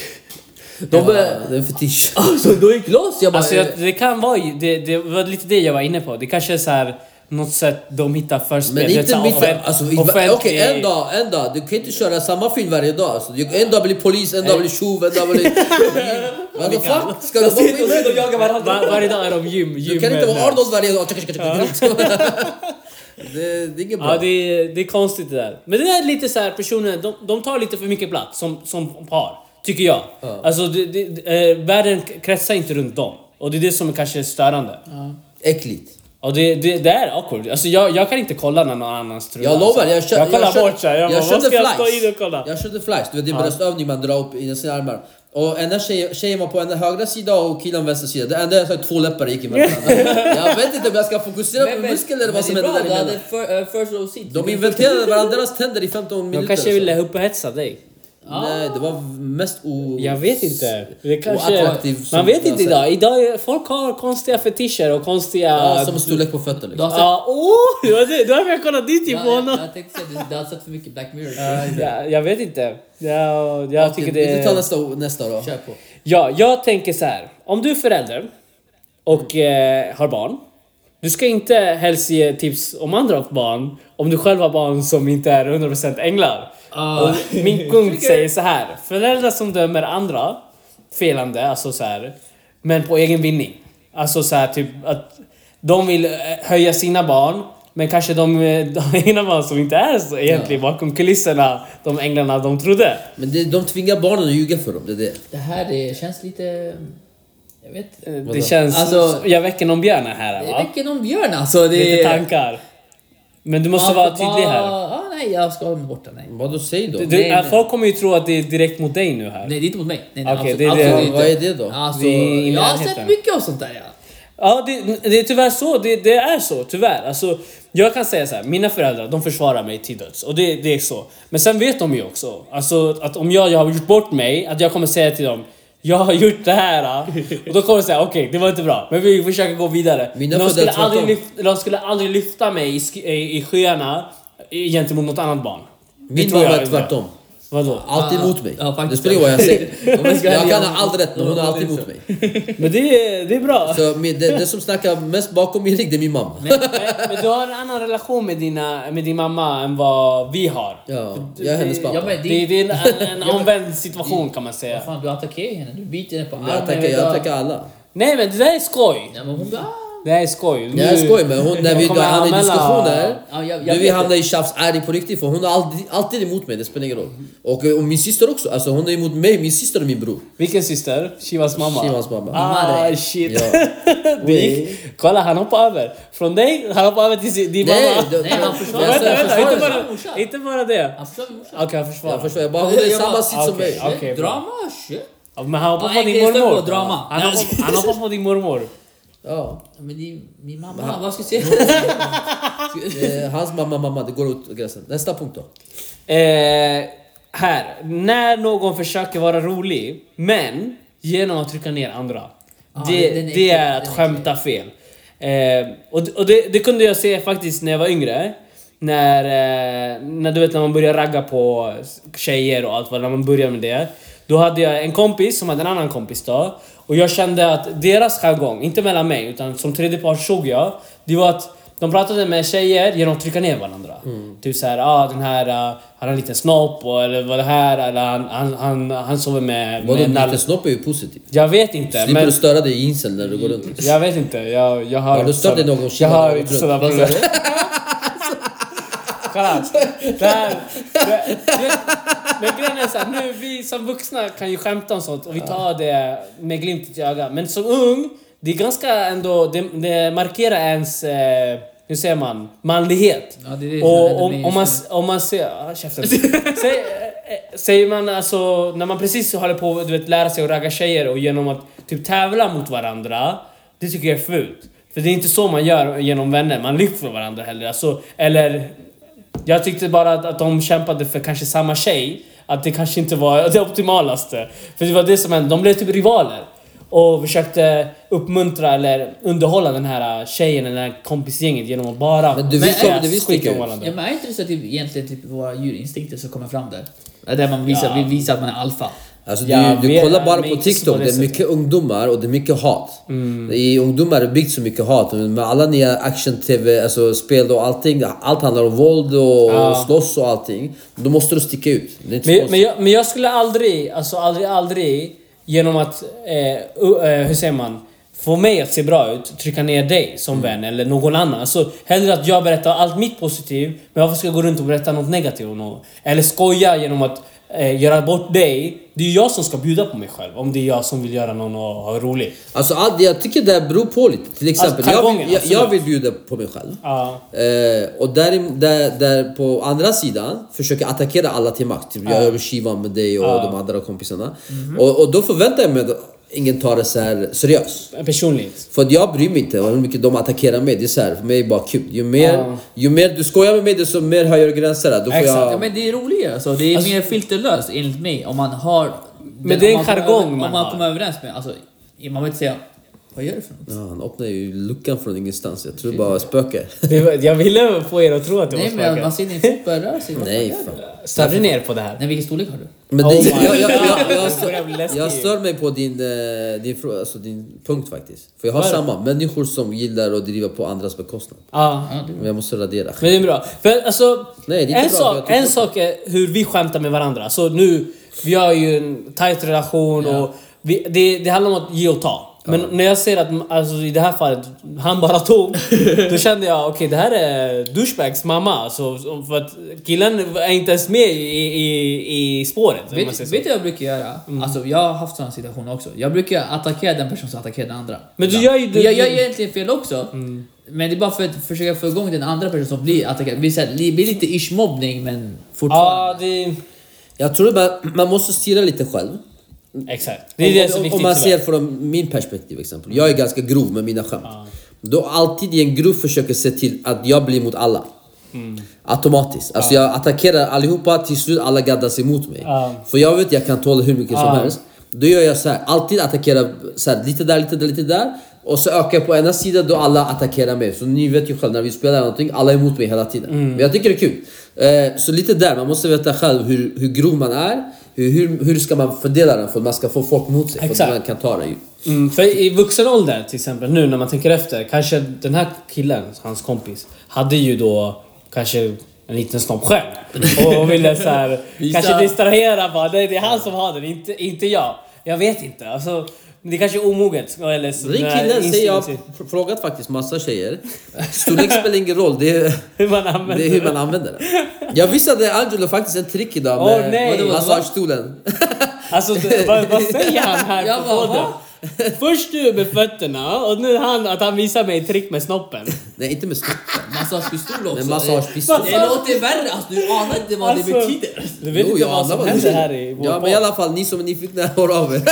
S3: De började...
S1: Ja, det är en fetisch.
S3: Alltså de gick loss. Jag bara,
S2: Alltså
S3: eh,
S2: jag, det kan vara ju- det, det var lite det jag var inne på. Det kanske är så här något sätt de hittar förspel.
S1: Men
S2: Du vet, så
S1: inte
S2: här,
S1: mitt...
S2: offent-
S1: Alltså, i- Okej,
S2: offentlig-
S1: en dag, en dag. Du kan inte köra samma film varje dag. Alltså, Du- en dag blir polis, en dag blir tjuv, en dag blir... Vad the fuck? Ska du vara på gymmet?
S2: Var, varje dag är de gym. gym
S1: Du kan inte vara Arnold varje dag. Tjaka, tjaka, tjaka. det, det är inget bra.
S2: Ja, det är, det är konstigt det där. Men det där är lite så här personer, de, de tar lite för mycket plats som, som par. Tycker jag. Alltså det, det, eh, världen kretsar inte runt dem. Och det är det som är kanske är störande.
S1: Äckligt.
S2: Och det, det, det är awkward. Alltså jag, jag kan inte kolla när någon annans tröja.
S1: Jag lovar,
S2: alltså.
S1: jag, kö-
S2: jag kollar
S1: kö-
S2: bort såhär. Jag, bara, vad
S1: körde
S2: ska jag
S1: flies.
S2: stå in och kolla?
S1: Jag körde flies, du vet det är bröstvövning man drar upp i sina armar. Och ena tjej, tjejen var på ena högra sida och killen vänster sida. Det enda jag sa är att två läppar gick emellan varandra. Jag vet inte om jag ska fokusera på muskler eller vad som
S3: det är
S1: händer
S3: bra, du
S1: däremellan.
S3: hade för, eh, first row seat.
S1: De inventerade varandras tänder i 15 minuter.
S2: De kanske
S1: så.
S2: ville upphetsa dig.
S1: Nej, det var mest o...
S2: Jag vet inte. Det
S1: Och
S2: kanske,
S1: attraktiv alltså. som
S2: man vet
S1: jag
S2: inte
S1: säger.
S2: idag. idag. är- Folk har konstiga fetischer och konstiga...
S1: Ja, som storlek på fötter liksom.
S2: Ja, åh! Det var det- det var därför jag kollade dit i
S3: Ja, jag,
S2: månaden.
S3: jag tänkte säga att du har sett för mycket Black Mirror.
S2: Ja, jag vet inte. Jag, jag tycker
S1: Vi tar
S2: det...
S1: nästa, nästa då.
S3: Kör på.
S2: Ja, jag tänker så här. Om du är förälder och
S1: Mm.
S2: eh, har barn. Du ska inte helst ge tips om andra barn om du själv har barn som inte är 100% änglar.
S3: Ah.
S2: Och Min kung säger så här. Föräldrar som dömer andra felande, alltså så här, men på egen vinning. Alltså så här, typ att de vill eh, höja sina barn, men kanske de, eh, de egna barn som inte är så egentligen bakom kulisserna, de änglarna de trodde.
S1: Men det, de tvingar barnen att ljuga för dem, det är det.
S3: Det här det känns lite... Jag vet
S2: Eh,
S3: inte.
S2: Det känns...
S3: Alltså-
S2: jag väcker någon björn här
S3: Det
S2: va?
S3: väcker någon björn alltså. Det...
S2: Lite tankar. Men du måste
S3: Ja,
S2: vara
S3: för-
S2: tydlig här.
S3: Ah, nej, jag ska hålla mig borta. Nej.
S1: Vadå, säg då?
S2: Du,
S3: nej, nej.
S2: Folk kommer ju tro att det är direkt mot dig nu här.
S3: nej, det är inte mot mig. Nej, nej,
S2: Okej,
S3: absolut-
S2: det är det.
S3: absolut inte.
S1: Vad är det då?
S3: Alltså,
S2: Det är i
S3: jag har
S2: närheten.
S3: sett mycket av sånt där. Ja.
S2: Ja, det, det är tyvärr så. Det, det är så, tyvärr. Alltså, jag kan säga så här, mina föräldrar de försvarar mig till döds. Och det, det är så. Men sen vet de ju också alltså, att om jag, jag har gjort bort mig, att jag kommer säga till dem jag har gjort det här. Och då kommer de säga okej, det var inte bra. Men vi försöker gå vidare.
S1: Mina
S2: de, skulle
S1: föräldrar
S2: aldrig
S1: tvärtom.
S2: lyfta, de skulle aldrig lyfta mig i, sk- i, i skyarna gentemot något annat barn. Det
S1: Min
S2: tror
S1: mamma
S2: jag
S1: är
S2: inte.
S1: tvärtom.
S2: Vadå?
S1: Alltid
S3: Ah,
S1: emot mig.
S3: ja, faktiskt.
S1: det spelar ingen roll vad jag säger.
S3: Om jag ska
S1: jag
S3: välja-
S1: kan ha allt rätt men hon är alltid emot mig.
S2: Men det, är- det är bra.
S1: Så min- det, det som snackar mest bakom min rygg det är min mamma.
S2: Men, men du har en annan relation med, dina, med din mamma än vad vi har.
S1: Ja, jag är hennes
S2: Det-
S1: pappa.
S3: Ja, men det-
S2: Det, det är en, en, en omvänd situation kan man säga.
S3: Fan, du attackerar henne. Du biter henne på armen.
S1: jag attackar,
S3: vet du.
S1: jag attackar alla.
S2: Nej men det där är skoj.
S3: Nej, men hon bara... "Ah."
S2: Det här är skoj. Nu,
S1: Jag skojar men hon, när vi
S2: kommer
S1: hamnar i
S2: anmäla-
S1: diskussioner,
S3: Ja, jag- jag
S1: nu vi
S3: vet
S1: hamnar i tjafs, är det på riktigt för hon är alltid, alltid emot mig, det spelar ingen roll. Och, och min syster också, alltså hon är emot mig, min syster och min bror.
S2: Vilken syster? Shivas mamma?
S1: Shivas mamma.
S2: Ah
S3: Madre.
S2: shit.
S1: Ja.
S2: Det gick. Kolla han hoppade över. Från dig, han hoppade över till sin- din
S1: Nej,
S2: mamma.
S1: det-
S3: Nej, han försvarar
S1: Jag
S2: Vänta,
S1: säger
S2: vänta.
S1: försvarar
S2: Inte
S1: mig.
S2: bara, inte bara det.
S3: Han försöker morsan.
S2: Okej, han försvarar.
S1: Jag förstår, jag bara hon är i
S3: Jag bara-
S1: samma sits som mig.
S2: Okej, okej, bra.
S3: Drama, shit.
S2: Ja, Men han hoppade
S3: Ja,
S2: på din
S3: Engelsson
S2: mormor.
S3: på drama.
S2: Han hoppade- han hoppade på din mormor.
S1: Ja.
S3: Men det är ju min mamma, vad ska jag säga?
S1: Eh, hans mamma, mamma, det går åt gränsen. Nästa punkt då.
S2: Eh, här. När någon försöker vara rolig, men genom att trycka ner andra.
S3: Ja,
S2: det,
S3: den är äcklig,
S2: det är
S3: den
S2: att
S3: är
S2: skämta fel. Eh, och och det, det kunde jag se faktiskt när jag var yngre. När, eh, när du vet när man börjar ragga på tjejer och allt vad, när man börjar med det. Då hade jag en kompis som hade en annan kompis då. Och jag kände att deras jargong, inte mellan mig utan som tredje part såg jag. Det var att de pratade med tjejer genom att trycka ner varandra.
S1: Mm.
S2: Typ såhär, ah den här, ah, han har en liten snopp och, eller vad det här, eller han, han, han, han sover med...
S1: Vadå,
S2: med
S1: lite
S2: nalle.
S1: snopp är ju positivt.
S2: Jag vet inte.
S1: Slipper du störa dig i inseln när du går runt.
S2: Jag vet inte, jag, jag har...
S1: Har du stört dig någon gång?
S2: Jag har
S1: Tjena,
S2: inte
S1: vad
S2: sådana
S1: trött.
S2: problem. Kolla! Det här, det, det, men grejen är såhär, nu vi som vuxna kan ju skämta om sånt och vi tar det med glimten i ögat. Men som ung, det är ganska ändå, det, det markerar ens, eh, hur säger man, manlighet.
S3: Ja, det är det som händer
S2: och om,
S3: mig just
S2: om, man,
S3: nu.
S2: om man ser... Ah, käften. Säg, eh, säger man alltså, när man precis håller på att du vet, lära sig att ragga tjejer och genom att typ tävla mot varandra, det tycker jag är fult. För det är inte så man gör genom vänner, man lyfter varandra heller. Alltså, eller... Jag tyckte bara att, att de kämpade för kanske samma tjej, att det kanske inte var det optimalaste. För det var det som hände, de blev typ rivaler. Och försökte uppmuntra eller underhålla den här ah, tjejen eller det här kompisgänget genom att bara
S1: Men du
S3: visste-
S2: säga
S1: du visste,
S2: skit om
S1: Kurt.
S2: varandra.
S3: Ja, men är inte det så att typ, egentligen typ våra djurinstinkter som kommer fram där? Ja, Där man visar,
S2: Ja.
S3: vill visa att man är alfa.
S1: Alltså
S2: Jag
S1: du, du
S2: vet,
S1: kollar bara
S2: men
S1: på
S2: inte så
S1: TikTok,
S2: på det Mm.
S1: det är
S2: sättet.
S1: mycket ungdomar och det är mycket hat. I ungdomar är det byggt så mycket hat. Men Med alla nya action-tv, alltså spel och allting. Allt handlar om våld och slåss och allting. Då måste du sticka ut. Det är inte
S2: Men,
S1: konstigt.
S2: men, jag, men jag skulle aldrig, alltså aldrig, aldrig genom att, eh, u- eh, hur säger man, få mig att se bra ut, trycka ner dig som
S3: Mm.
S2: vän eller någon annan. Alltså hellre att jag berättar allt mitt positivt, men varför ska jag gå runt och berätta något negativt om någon? Eller skoja genom att eh, göra bort dig. Det är ju jag som ska bjuda på mig själv, om det är jag som vill göra någon och ha roligt.
S1: Alltså allt, jag tycker det beror på lite. Till exempel, jag,
S2: Alltså, jargongen,
S1: vill, jag, jag
S2: absolut.
S1: vill bjuda på mig själv.
S2: Ja.
S1: Eh, och där, där, där på andra sidan försöker jag attackera alla till max. Typ, jag gör kivan med dig och de andra kompisarna.
S3: Mhm.
S1: Och, och då förväntar jag mig att ingen tar det så här seriöst.
S2: Personligt.
S1: För att jag bryr mig inte om hur mycket de attackerar mig. Det är så här, för mig är det bara kul. Ju mer, ju mer du skojar med mig desto mer höjer gränserna. Då får
S2: Exakt.
S3: Ja,
S1: jag...
S3: men det är roligare alltså. Det är mer filterlöst enligt mig om man har... den-
S2: det är en
S3: om man kommer
S2: jargong
S3: över-
S2: man
S3: Om man
S2: har.
S3: kommer överens med... Alltså, man vill inte säga... Vad gör du för något?
S1: Ja, han öppnar ju luckan från ingenstans. Jag tror det bara spöke.
S2: Det var, jag ville få er att tro att det var
S3: Nej men
S2: spöken.
S3: man ser din fot börja röra sig. Vad fan
S1: Nej,
S3: gör du?
S1: fan.
S2: Stör du ner på det här?
S3: Nej, vilken storlek har du?
S1: Men
S2: Oh
S1: det,
S2: my
S1: jag, jag, jag,
S2: God.
S1: jag,
S2: Jag blir
S1: stör,
S2: läskig.
S1: jag stör mig på din, eh, din, frå- alltså din punkt faktiskt. För jag har samma. Människor som gillar att driva på andras bekostnad.
S2: Ja.
S3: Ja, du.
S1: Men jag måste radera.
S2: Men det är bra. För alltså,
S1: Nej, det är inte
S2: en,
S1: bra, jag
S2: sak,
S1: tycker
S2: en
S1: också.
S2: sak är hur vi skämtar med varandra. Så nu, vi har ju en tight relation och vi, det, det handlar om att ge och ta. Men när jag ser att, alltså, i det här fallet, han bara tog. Då kände jag, okej det här är douchebags mamma. Alltså, för att killen är inte ens med i, i, i spåret. om man
S3: Vet,
S2: säger
S3: vet
S2: så. Mm.
S3: du vad jag brukar göra? Alltså jag har haft sådana situationer också. Jag brukar attackera den person som attackerar den andra.
S2: Men du
S3: Ibland.
S2: gör ju- du- Mm.
S3: jag, jag
S2: du-
S3: gör egentligen fel också. Men det är bara för att försöka få igång den andra personen som blir attackerad. Det blir, så här, det blir lite ish-mobbning men fortfarande.
S2: Ja, det...
S1: Jag tror man, man måste styra lite själv.
S2: Exakt. Det är det som är
S1: om,
S2: viktigt.
S1: om, om man
S2: tyvärr.
S1: ser från min perspektiv exempel. Jag är ganska grov med mina skämt. Då alltid i en grupp försöker se till att jag blir mot alla.
S2: Mm.
S1: Automatiskt. Alltså jag attackerar allihopa, till slut alla gaddas emot mig.
S2: Ja.
S1: För jag vet jag kan tåla hur mycket som
S2: Ja.
S1: helst. Då gör jag så här, alltid attackerar så här, lite där, lite där, lite där. Och så ökar jag på ena sidan då alla attackerar mig. Så ni vet ju själv när vi spelar någonting, alla är emot mig hela tiden.
S2: Mm.
S1: Men jag tycker det är kul. Eh, så lite där, man måste veta själv hur, hur grov man är. Hur, hur, hur ska man fördela den för att man ska få folk mot sig? För
S2: Exakt.
S1: att man kan ta det ju.
S2: Mm, för i vuxen ålder till exempel, nu när man tänker efter, kanske den här killen, hans kompis, hade ju då kanske en liten snopp själv. Och ville så här,
S3: Visa.
S2: kanske distrahera bara, nej det är han som har den, inte, inte jag. Jag vet inte. Alltså, det kanske är omoget. Eller så,
S1: Den killen säger jag, har fr- frågat faktiskt massa tjejer. Storlek spelar ingen roll, det är,
S2: Hur man använder
S1: det är hur man använder det. Jag visade Angelo faktiskt en trick idag
S2: Åh,
S1: med
S2: nej.
S1: vadå,
S2: Vadå?
S1: massagestolen.
S2: Alltså det- vad, vad säger han här
S3: Jag
S2: på
S3: bara,
S2: podden?
S3: va?
S2: Först du med fötterna och nu han att han visar mig ett trick med snoppen.
S1: Nej, inte med snoppen.
S3: Massagepistol också.
S1: Med massagepistol.
S3: Det låter värre alltså. Du anar inte vad det betyder.
S2: Alltså, Du vet
S1: Jo,
S2: inte
S1: jag
S2: vad
S1: anar
S2: som händer
S1: du-
S2: här i vår
S1: Ja, men i alla fall ni som är nyfikna, hör av er.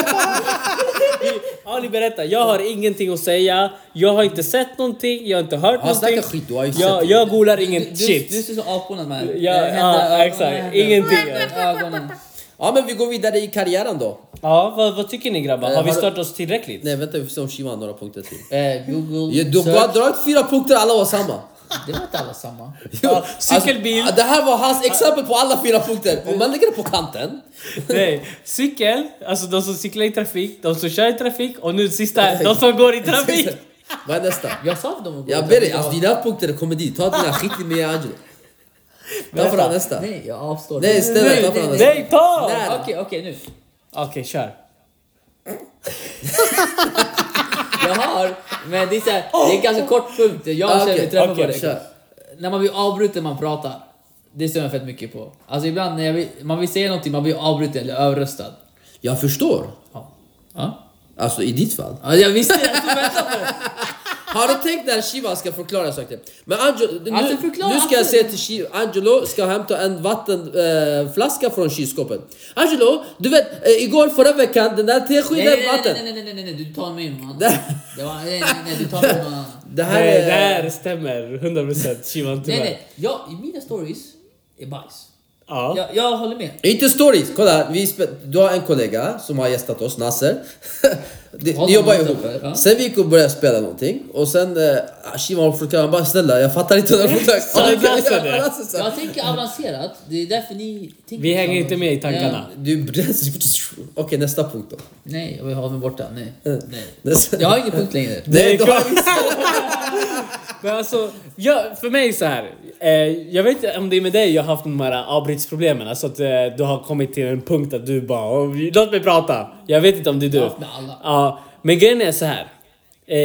S2: Ali berätta, jag har ingenting att säga. Jag har inte sett någonting, jag har inte hört
S1: Han snackar
S2: någonting.
S1: skit, du har ju
S2: Jag,
S1: sett-
S2: jag googlar ingen
S3: Du, du, du
S2: shit.
S3: ser som aporna man.
S2: Ja,
S3: Det händer
S2: ja,
S3: ögonen,
S2: exakt.
S3: händer.
S2: Ingenting.
S3: Ögonen.
S1: Ja men vi går vidare i karriären då.
S2: Ja, vad, vad tycker ni grabbar?
S1: Eh,
S2: Har vi
S1: har du-
S2: stört oss tillräckligt?
S1: Nej vänta vi får se om Shiva har några punkter till.
S3: Eh, Google.
S2: Mm.
S1: Ja, Du har
S3: search.
S1: dragit fyra punkter, alla var samma.
S3: Det var inte alla samma.
S1: Jo,
S2: Ja, cykelbil.
S1: Alltså, det här var hans exempel på alla fyra punkter. Om man lägger det på kanten.
S2: Nej, cykel, alltså de som cyklar i trafik, de som kör i trafik och nu sista, de som går i trafik.
S1: Vad är nästa?
S3: Jag sa att de var goda.
S1: Jag ber dig, alltså dina punkter kommer dit. Ta dina skit i mig Angelo. Ta fram nästa.
S3: Nej, jag avstår.
S1: Nej, snälla,
S3: Nej,
S1: ta
S3: nej,
S1: fram
S3: nej.
S2: Nej, ta!
S1: Nej.
S3: Okej, okej nu.
S2: Okej, kör.
S3: Jag har, men det är, så här, det är en ganska kort punkt. Jag
S1: Ah,
S3: känner
S1: okej,
S3: vi träffar
S2: okej,
S3: på det.
S1: kör.
S3: När man blir avbruten man pratar. Det stör jag fett mycket på. Alltså ibland när jag vill, man vill säga någonting, man blir avbruten eller överröstad.
S1: Jag förstår.
S3: Ja. Ja.
S1: Alltså i ditt fall.
S3: Ja, jag visste det, jag stod och väntade på det.
S1: Har du tänkt när Shiva ska förklara saker? Men Angelo, nu,
S3: Alltså, förklara,
S1: nu ska jag
S3: absolut.
S1: säga till Shiva, Angelo ska hämta en vattenflaska eh, flaska från kylskåpet. Angelo, du vet eh, igår förra veckan, den där
S3: Nej,
S1: teskeden
S3: nej, nej,
S1: vatten.
S3: nej, nej, nej, nej, nej, nej, du tar min man.
S1: Det-
S3: Det var, nej, nej, nej, du tar min man.
S1: Det här
S2: Nej, det
S1: är...
S2: här stämmer 100% Shivan
S3: Nej,
S2: tyvärr.
S3: nej, jag, i mina stories är bajs.
S2: Ja.
S3: Jag, jag håller med.
S1: Inte stories! Kolla, vi spe- du har en kollega som har gästat oss, Nasser. Ni-
S3: Honom
S1: Ni jobbar
S3: utanför,
S1: ihop.
S3: ja.
S1: Sen vi gick och började spela någonting och sen... Eh, Shivan förklarade, han bara snälla jag fattar inte hur han
S2: Sa Nasser det?
S3: Jag tänker avancerat, det är därför ni tänker
S2: Vi hänger
S3: så.
S2: inte med i tankarna.
S1: Du bränns... Okej nästa punkt då.
S3: Nej, jag vill ha mig borta. Nej. nej.
S1: Nästa.
S3: Jag har ingen punkt längre.
S1: Nej, då-
S2: klart. Men alltså, jag, för mig så här. Eh, jag vet inte om det är med dig jag har haft de här avbrytsproblemen. Alltså att eh, du har kommit till en punkt att du bara "Åh, låt mig prata. Jag vet inte om det är du.
S3: Jag har haft med alla.
S2: Ja, men grejen är så här. Eh,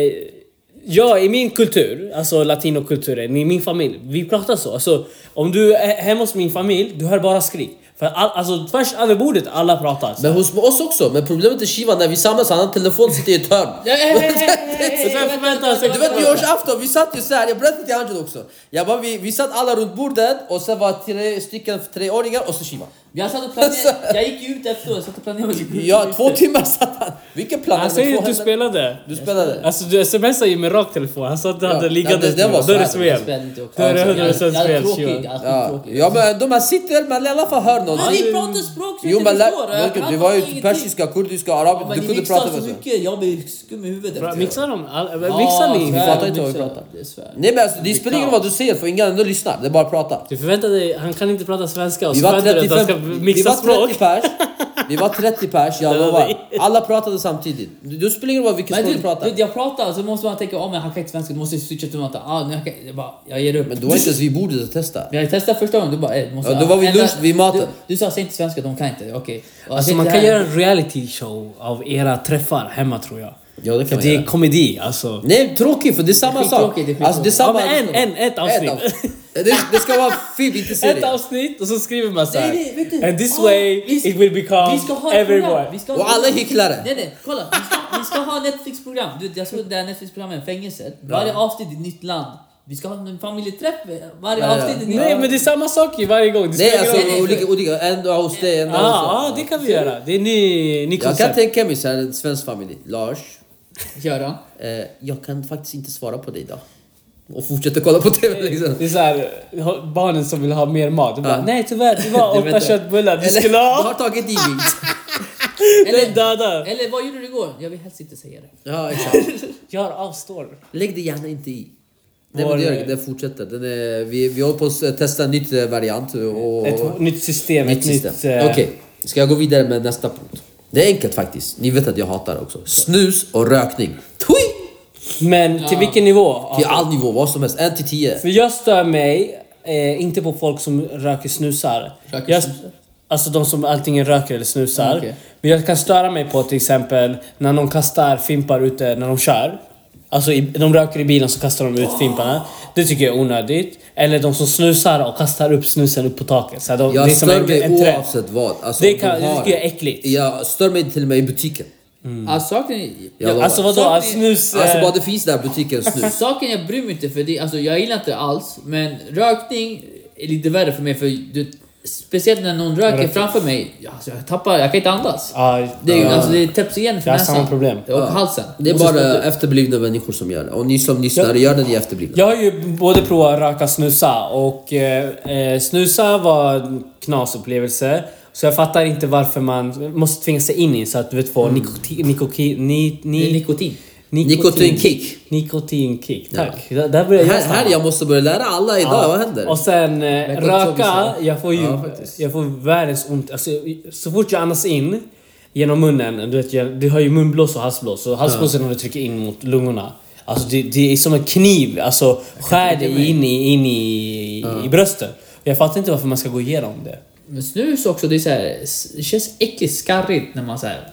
S2: jag i min kultur, alltså latinokulturen, i min familj, vi pratar så. Alltså, om du är hemma hos min familj, du hör bara skrik. För all, alltså tvärs över bordet, alla pratar. Så.
S1: Men hos oss också, men problemet är Shiva när vi samlas, han har en telefon sitter i ett hörn.
S3: Nej, nej, nej, nej, nej,
S2: Så där
S3: vänta,
S2: förväntar
S3: vänta,
S2: sig-
S1: Du
S3: vänta,
S1: vet
S3: vänta.
S1: nyårsafton, vi satt ju såhär, jag berättade till Angelo också. Jag bara, vi, vi satt alla runt bordet och sen var tre stycken treåringar och så Shiva.
S3: Jag satt och planerade, jag gick ut efteråt, jag satt och planerade.
S1: Ja, två timmar satt han. Vilken plan?
S2: Han
S1: hade
S2: säger
S1: två
S2: att du
S1: händer?
S2: spelade.
S1: Du spelade?
S2: Alltså du smsar ju med rak telefon, han sa att du hade
S1: ja,
S2: liggande
S1: det- det var
S2: då är
S1: så här,
S2: det
S1: det
S2: spel.
S3: Jag spelade inte också. Alltså,
S2: Då är det
S3: Jag-
S2: 100%
S3: jag- jag är
S2: spel,
S3: tråkig,
S2: Shiva.
S3: alltid
S1: Ja.
S3: tråkig.
S1: ja men de här sitter, man i alla fall hör
S3: Men
S1: någonting.
S3: ni pratar språk som
S1: Jo
S3: jag inte
S1: men lä-
S3: förstår. Jag
S1: det
S3: fattar
S1: var ju
S3: ingenting.
S1: persiska, kurdiska,
S3: Ja,
S1: arabiska,
S3: Men
S1: du
S3: ni
S1: kunde
S3: mixar
S1: prata
S3: så
S1: med oss.
S3: mycket, jag blir skum i huvudet.
S2: Bra,
S3: efter Alltså, det.
S2: Mixar de? All-
S3: Ja,
S2: Mixar ni?
S3: så
S1: Vi
S3: här,
S1: fattar inte vad vi
S3: mixar.
S1: pratar.
S3: Det är svär.
S1: Nej men alltså, det spelar ingen roll vad du säger för ingen ändå lyssnar, det är bara att prata.
S2: Du förväntar dig, han kan inte prata svenska och
S1: Vi
S2: så
S1: var
S2: förväntar du dig att han
S1: 35,
S2: Alltså,
S1: vi
S2: ska mixa
S1: var 30
S2: språk.
S1: pers, vi var 30 pers, jag
S2: Döda
S1: lovar.
S2: dig.
S1: Alla pratade samtidigt. Du, du spelar ingen roll vilket
S3: Men
S1: språk du
S3: du,
S1: pratar.
S3: du, jag pratar så måste man tänka, oh, men han kan inte svenska, du måste switcha till något annat. Ah, nej, jag, kan, jag, bara, jag ger upp.
S1: Men då var inte ens vid bordet att testa.
S3: Men jag testade första gången, du bara eh, du måste
S1: Ja, då var vi
S3: ändra-
S1: lunch vid maten.
S3: Du, du sa säg inte svenska, de kan inte. Okej. Och
S2: Alltså
S3: jag
S2: man
S3: sitter
S2: kan
S3: här.
S2: göra en reality show av era träffar hemma tror jag.
S1: Ja, det kan
S2: För
S1: man
S2: det är
S1: göra.
S2: komedi alltså.
S1: Nej, tråkigt för det är samma
S3: Det är
S1: sak.
S3: skittråkigt, det är
S1: Alltså det är samma...
S2: Ja, men en- en- ett avsnitt.
S1: Det, det ska vara film, inte
S2: Ett
S1: serie.
S2: avsnitt och så skriver man såhär.
S3: Nej, nej, vet du.
S2: And this
S3: Ah,
S2: way
S3: vi ska-
S2: it will become
S3: Vi ska ha ett
S2: everyone.
S3: program. Vi ska ha
S1: Och alla är hycklare.
S3: Nej nej, kolla. Vi ska, vi ska ha Netflix-program. Du, jag såg det här Netflix-programmet, fängelset. Varje avsnitt är ett nytt land. Vi ska ha en familjeträff. Varje
S1: Ja, ja.
S3: avsnitt är ett nytt
S2: Nej men det är samma sak ju varje gång. Det
S1: Nej
S2: spelar ingen
S1: alltså
S2: roll.
S3: nej, nej.
S1: olika, olika. En dag hos dig, en dag hos
S2: Ja,
S1: dig.
S2: ja, det kan vi göra. Det är ny, ny
S1: Jag kan
S2: koncept.
S1: tänka mig såhär, en svensk familj. Lars,
S3: Göran.
S1: eh, jag kan faktiskt inte svara på dig idag. Och fortsätter kolla på TV liksom.
S2: Det är såhär, barnen som vill ha mer mat. De Bara,
S1: Ja.
S2: Nej tyvärr, det var
S1: Du
S2: åtta
S1: vet det.
S2: köttbullar du
S1: Eller, du
S2: skulle ha.
S1: har tagit i mig.
S2: Den
S3: Eller,
S2: dödar.
S3: eller vad gjorde du igår? Jag vill helst inte säga det.
S1: Ja, exakt.
S2: Jag avstår.
S1: Lägg det gärna inte i. Nej
S2: Var
S1: men det gör
S2: det-
S1: inget, den fortsätter. Den är, vi, vi håller på att testa en nytt eh, variant och...
S2: Ett nytt system,
S1: nytt
S2: ett nytt...
S1: system.
S2: eh,
S1: Okej, ska jag gå vidare med nästa punkt? Det är enkelt faktiskt. Ni vet att jag hatar det också. Snus och rökning. Tui!
S2: Men till vilken nivå?
S1: Till all nivå, vad som helst. En till tio.
S2: För jag stör mig eh, inte på folk som röker snusar.
S3: Röker
S2: jag,
S3: snusar?
S2: Alltså de som antingen röker eller snusar.
S3: Mm, okej.
S2: Men jag kan störa mig på till exempel när någon kastar fimpar ute när de kör. Alltså i, de röker i bilen så kastar de ut fimparna. Det tycker jag är onödigt. Eller de som snusar och kastar upp snusen upp på taket. Så här, de, det är
S1: Jag
S2: som
S1: stör
S2: en,
S1: mig
S2: en trend.
S1: oavsett vad. Alltså,
S2: Det kan-
S1: de har
S2: det tycker jag är äckligt.
S1: Jag stör mig till och med i butiken. Mm.
S3: Alltså, saken, är-
S1: Jag lovar.
S2: Alltså vadå?
S3: Som-
S2: snus... eh,
S1: Alltså bara det finns där butiken snus.
S3: Saken jag bryr mig inte för, det, alltså, jag gillar inte det alls, men rökning är lite värre för mig för du, Speciellt när någon röker framför mig. Ja, Alltså, jag tappar, jag kan inte andas.
S2: Ja,
S3: Det, är,
S2: ja.
S3: alltså, det täpps igen för
S2: Jag har
S3: näsan.
S2: samma problem.
S3: Och halsen.
S1: Det är bara efterblivna människor som gör det. Och ni som lyssnar, gör det ni är efterblivna.
S2: Jag har ju både provat röka och snusa och eh, eh, snusa var en knasupplevelse. Så jag fattar inte varför man måste tvinga sig in i så att du vet
S1: Mm.
S2: få nikotin... Nikotin... Ni,
S3: Det är
S2: ni,
S3: nikotin.
S1: Nikotinkick.
S2: Nikotinkick, tack. Där, där börjar jag
S1: Här,
S2: stanna.
S1: här jag måste börja lära alla idag,
S2: Ja.
S1: vad händer?
S2: Och sen eh,
S3: går inte så
S2: röka,
S3: mycket.
S2: jag får ju
S1: Ja, faktiskt.
S2: jag får världens ont. Alltså, så fort jag andas in genom munnen, du vet, jag, du har ju munblås och halsblås. Och halsblåsen när du trycker in mot lungorna. Alltså det, det är som en kniv, alltså skär dig in, i, in i, i brösten. Jag fattar inte varför man ska gå igenom det.
S3: Men snus också, det, är så här, det känns äckligt skarrigt när man så här,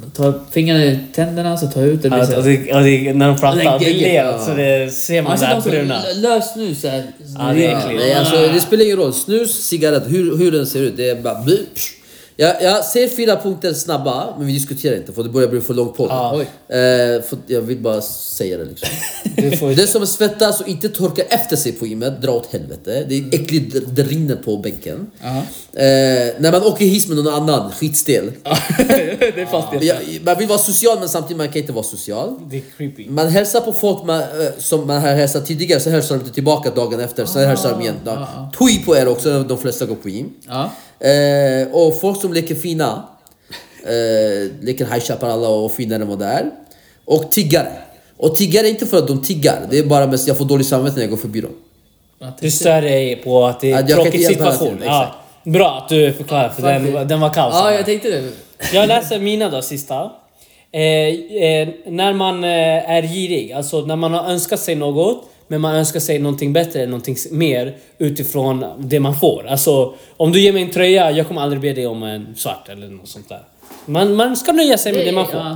S3: man tar fingrarna i tänderna så tar ut det. det blir
S2: Att,
S3: så
S2: och
S3: här-
S2: Alltså, det, och det när de pratar, det
S3: Det är gegget,
S2: ler,
S3: ja.
S2: så det ser man
S3: Alltså
S2: det
S3: de
S2: här
S3: som
S2: bruna.
S3: l- lös snus så här.
S2: Ja, det är äckligt.
S1: Nej, alltså, det spelar ingen roll. Snus, cigarett, hur, hur den ser ut. Det är bara... bly- psh. Jag, jag ser fyra punkter snabba, men vi diskuterar inte för det börjar bli för lång podd.
S2: Ja.
S1: Oj. Eh, för jag vill bara säga det liksom.
S2: Du får ju-
S1: Den som svettas och inte torkar efter sig på gymmet, dra åt helvete. Det är äckligt, det- det rinner på bänken. Eh, när man åker hiss med någon annan, skitstel.
S3: det är fast det.
S1: Jag, man vill vara social men samtidigt man kan inte vara social.
S2: Det är creepy.
S1: Man hälsar på folk man, eh, som man har hälsat tidigare, sen hälsar de inte tillbaka dagen efter, sen hälsar de igen. Tui på er också, de flesta går på gym.
S3: Ja.
S1: Eh, och folk som leker fina, eh, leker High Chaparral och finare än vad det är. Och tiggare. Och tiggare är inte för att de tiggar, det är bara mest jag får dåligt samvete när jag går förbi dem.
S2: Du stör dig på att det är
S1: Att
S2: en
S1: jag kan
S2: tråkig
S1: inte hjälpa
S2: situation.
S1: det,
S2: Ja. Bra att du förklarar, för den, den var kaos.
S3: Ja, jag tänkte det.
S2: Jag läser mina då, sista. Eh, eh, när man eh, är girig, alltså när man har önskat sig något men man önskar sig någonting bättre, någonting s- mer utifrån det man får. Alltså om du ger mig en tröja, jag kommer aldrig be dig om en svart eller något sånt där. Man, man ska nöja sig med det man får.
S3: Ja.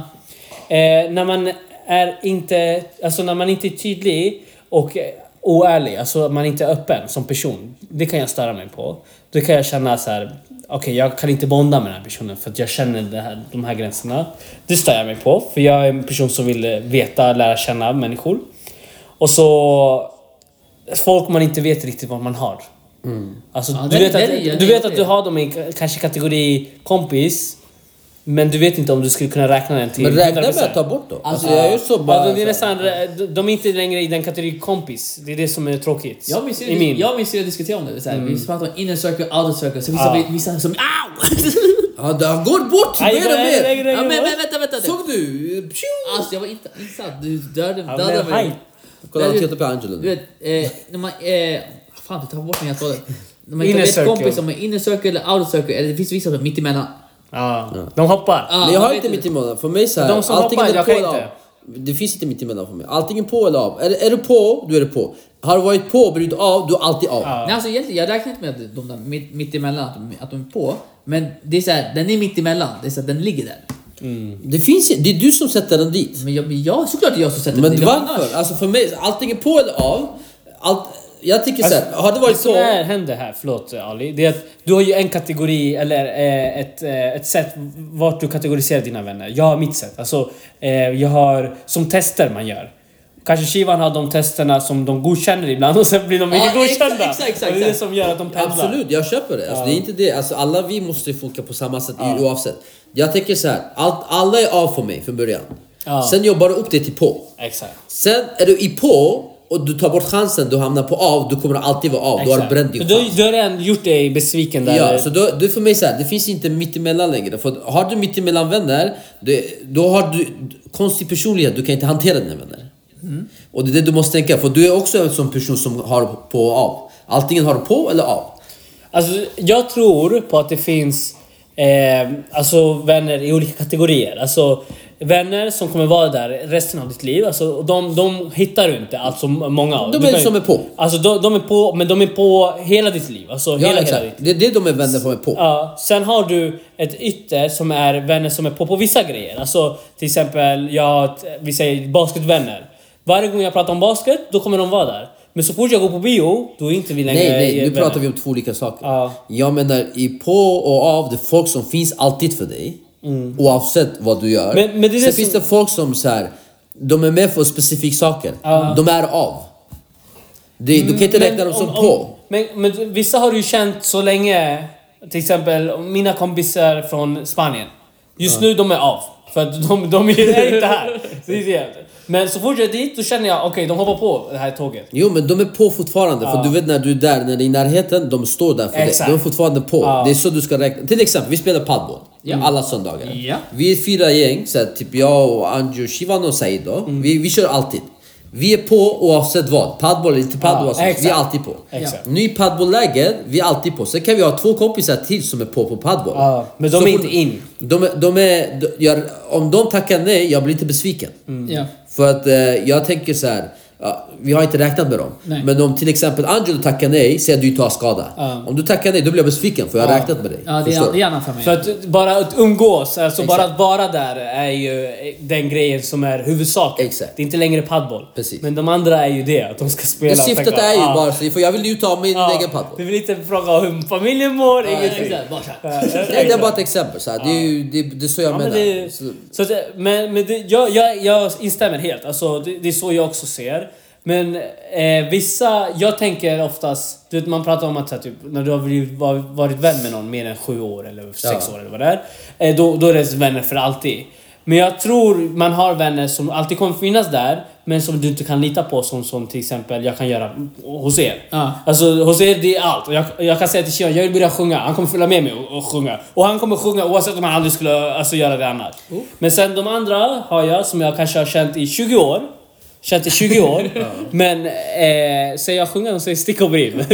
S2: Eh, när man är inte, alltså när man inte är tydlig och eh, oärlig, alltså att man inte är öppen som person. Det kan jag störa mig på. Då kan jag känna så här. okej jag kan inte bonda med den här personen för att jag känner det här, de här gränserna. Det stör jag mig på, för jag är en person som vill eh, veta, lära känna människor. Och så folk man inte vet riktigt vad man har. Alltså,
S3: Mm.
S2: du,
S3: Ja, den-
S2: vet att,
S3: den är- den
S2: du
S3: är
S2: vet att
S3: jobbig.
S2: du har dem i k- kanske kategori kompis, men du vet inte om du skulle kunna räkna den till
S1: Men räkna med
S2: 100%.
S1: att ta bort dem. Alltså,
S3: Alltså,
S1: jag gör så bara.
S2: Ja, det är
S1: så.
S2: nästan, de- de är inte längre i den kategorin kompis. Det är det som är tråkigt.
S3: Jag minns ju,
S2: I min.
S3: jag minns ju att diskutera om det. Så här, Vi pratade om inner circle, outer circle. Så vissa,
S2: Ja.
S3: vissa som... Au!
S1: Ja, det går bort
S2: Aj,
S1: mer och
S2: nej, nej,
S1: mer!
S2: nej.
S3: ja, men, men vänta, vänta. Det.
S1: Såg du? Pju!
S3: Alltså jag var inte insatt. Du dödade,
S2: Ja,
S3: dödade
S2: men
S3: mig.
S2: hej.
S1: Kolla, han
S3: Nej,
S1: tittar på Angelo.
S3: Du vet, eh, när man... Eh, fan, du tar bort mig helt och hållet. När man
S2: Inner
S3: inte vet
S2: circle.
S3: kompis om man är inner circle eller outer circle. Eller det finns vissa som är mittemellan.
S2: Ja. De hoppar.
S3: Ja,
S1: Men jag har
S3: vet
S1: inte
S3: du.
S1: mitt emellan. För mig så här,
S2: De som hoppar, jag kan inte.
S1: Det finns inte mitt emellan för mig. Antingen på eller av. Är, är du på, då är du på. Har du varit på och blivit av, du är alltid av.
S3: Nej, alltså egentligen, jag räknar inte med att de där mitt, mitt emellan, att de, att de är på. Men det är så här, den är mitt emellan. Det är så här, den ligger där.
S1: Det finns inte- det är du som sätter den dit.
S3: Men jag, men jag såklart det är jag som sätter
S1: Men
S3: den.
S1: varför? Alltså för mig, antingen på eller av. Allt, jag tycker så här, har det
S2: Det
S1: varit
S2: som
S1: så...
S2: är, händer här, förlåt Ali, det är att du har ju en kategori eller eh, ett, eh, ett sätt vart du kategoriserar dina vänner. Jag har mitt sätt. Alltså, eh, jag har som tester man gör. Kanske Shivan har de testerna som de godkänner ibland och sen blir de inte
S3: Ja, exakt,
S2: godkända.
S3: exakt, exakt,
S2: Och det är det
S3: exakt.
S2: som gör att de pendlar.
S1: Absolut, jag köper det. Alltså, Det är inte det. Alltså, alla vi måste ju funka på samma sätt i- oavsett. Jag tänker så här, allt, alla är av för mig från början.
S2: Ja.
S1: Sen jobbar du upp det till på.
S2: Exakt.
S1: Sen är du i på och du tar bort chansen, du hamnar på av, du kommer alltid vara av. Du har
S2: exakt.
S1: bränt din
S2: För du,
S1: chans.
S2: du har redan gjort dig besviken där.
S1: Ja, alltså- så då, då för mig så här, det finns inte mittemellan längre. För har du mittemellan vänner, det, då har du konstig personlighet, du kan inte hantera dina vänner.
S2: Mm.
S1: Och det är det du måste tänka, för du är också en sån person som har på och av. Antingen har du på eller av.
S2: Alltså, jag tror på att det finns eh, alltså vänner i olika kategorier. Alltså vänner som kommer vara där resten av ditt liv. Alltså, och de, de hittar du inte, alltså många av
S1: De
S2: Du
S1: är
S2: kan ju-
S1: som är på.
S2: Alltså de, de är på, men de är på hela ditt liv. Alltså
S1: Ja,
S2: hela, hela
S1: exakt.
S2: ditt
S1: Det är det de är vänner för mig på.
S2: Ja, sen har du ett ytter som är vänner som är på på vissa grejer. Alltså till exempel, jag har ett, vi säger basketvänner. Varje gång jag pratar om basket, då kommer de vara där. Men så fort jag går på bio, då är inte vi längre
S1: Nej, nej, nu
S2: vänner.
S1: pratar vi om två olika saker.
S2: Ja.
S1: Jag menar i på och av, det är folk som finns alltid för dig. Oavsett vad du gör.
S2: Mm. Men- men det är det
S1: Sen
S2: som-
S1: finns det folk som så här, de är med för specifika saker. De är av. Det, du kan inte räkna
S2: Mm, Men
S1: dem som
S2: om,
S1: på.
S2: Om, Men, men vissa har du ju känt så länge. Till exempel mina kompisar från Spanien. Just nu de är av. För att de, de är inte här. Det är det. Men så fort jag är dit, då känner jag okej, de hoppar på det här tåget.
S1: Jo men de är på fortfarande, för du vet när du är där, när du är i närheten, de står där för dig.
S2: Exakt.
S1: De är fortfarande på.
S2: Ja. Mm.
S1: Det är så du ska räkna. Till exempel, vi spelar padel alla söndagar.
S3: Ja.
S1: Vi är fyra gäng, så här, typ jag och Anju, Shivan och Said då.
S2: Mm.
S1: Vi, vi kör alltid. Vi är på oavsett vad, padel eller inte padel,
S2: Ja,
S1: alltså, vi är
S2: exakt.
S1: alltid på.
S2: Exakt.
S1: Ny padelläge, vi är alltid på. Sen kan vi ha två kompisar till som är på på padel.
S2: Ja, men de
S1: Så
S2: är
S1: fort-
S2: inte in.
S1: De, är- de är, de, jag, om de tackar nej, jag blir lite besviken.
S2: Mm.
S3: Ja.
S1: För att eh, jag tänker så här. Ja, vi har inte räknat med dem.
S3: Nej.
S1: Men om till exempel Angelo tackar nej, säger att du tar skada.
S2: Ja.
S1: Om du tackar nej, då blir jag besviken för jag har räknat med dig.
S3: Ja, det
S1: Förstår
S3: är,
S1: du?
S3: det är annan för mig.
S2: För att bara att umgås, alltså
S1: Exakt.
S2: bara att vara där är ju den grejen som är huvudsaken.
S1: Exakt.
S2: Det är inte längre padboll.
S1: Precis.
S2: Men de andra är ju det, att de ska spela.
S1: Men
S2: och "Ah,
S1: syftet
S2: tackla.
S1: är ju
S2: Ja.
S1: bara så, för jag vill ju ta min
S2: Ja.
S1: egen padel.
S2: Du vill inte fråga hur familjen mår,
S3: Ja,
S2: ingenting.
S3: exakt. Bara så här.
S2: Ja, exakt.
S1: Nej, det är bara ett exempel. Så här. Det, är ju, det, det är så jag
S2: Ja, men
S1: menar.
S2: det,
S1: Så,
S2: så att, men, men det, jag, jag, jag instämmer helt. Alltså, det, det är så jag också ser. Men eh, vissa, jag tänker oftast, du vet man pratar om att så här, typ, när du har blivit, var, varit vän med någon mer än sju år eller sex
S1: Ja.
S2: år eller vad det är. Eh, då, då är det vänner för alltid. Men jag tror man har vänner som alltid kommer finnas där, men som du inte kan lita på som, som till exempel jag kan göra hos er.
S3: Ja.
S2: Alltså hos er, det är allt. Och Jag, jag kan säga till Shion, jag vill börja sjunga. Han kommer följa med mig och, och sjunga. Och han kommer sjunga oavsett om han aldrig skulle alltså, göra det annat. Men sen de andra har jag, som jag kanske har känt i 20 år. Känt i 20 år. men eh, säger jag sjunga, de säger stick och brinn. eller,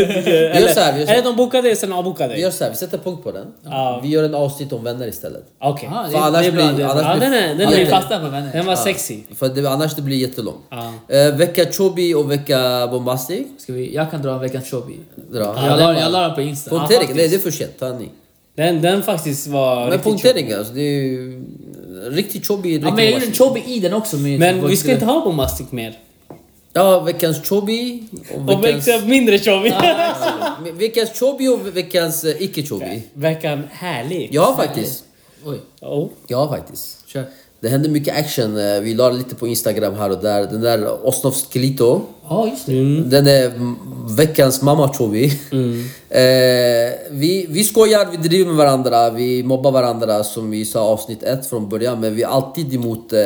S1: så här, vi gör så här.
S2: eller de bokar dig, sen avbokar
S1: vi
S2: dig.
S1: gör så här, vi sätter punkt på den.
S2: Ja.
S1: Vi gör en avsnitt om vänner istället.
S2: Okej.
S3: Ja, det,
S1: För annars
S3: det är bra.
S1: blir-
S3: det är
S1: annars-
S3: bra.
S2: Ja, den, är, den,
S3: Vi
S2: är,
S3: fastnar på vänner.
S2: den var sexy.
S1: För det, annars det blir jättelångt.
S2: Ja.
S1: Eh, vecka Chobi och vecka Bombastic.
S3: Ska vi, jag kan dra en veckans showbie.
S1: Dra.
S3: Jag la, jag la den på Insta.
S1: Punktering? Nej, det är för sent. Ta en ny.
S2: Den, den faktiskt var
S1: Men
S2: riktigt tjock.
S1: punktering alltså, det är ju... Riktigt Chobi,
S3: Ja,
S1: riktigt
S3: men jag gjorde
S1: Bombastic.
S3: en showbie i den också. Med
S2: Men vi ska inte ha bombastic mer.
S1: Ja, veckans Chobi och
S2: Och
S1: veckans...
S2: växa mindre tjobbig.
S1: Veckans Chobi och veckans eh, icke Chobi.
S2: Veckan härlig.
S1: Ja, faktiskt.
S3: Oj,
S2: Oh.
S1: Ja, faktiskt.
S3: kör.
S1: Det hände mycket action. eh, Vi la lite på Instagram här och där. Den där Osnov Skelito.
S3: Ja, just det.
S1: Den är m- veckans mamma Chobi. Eh, vi, vi skojar, vi driver med varandra, vi mobbar varandra som vi sa i avsnitt ett från början. Men vi är alltid emot eh,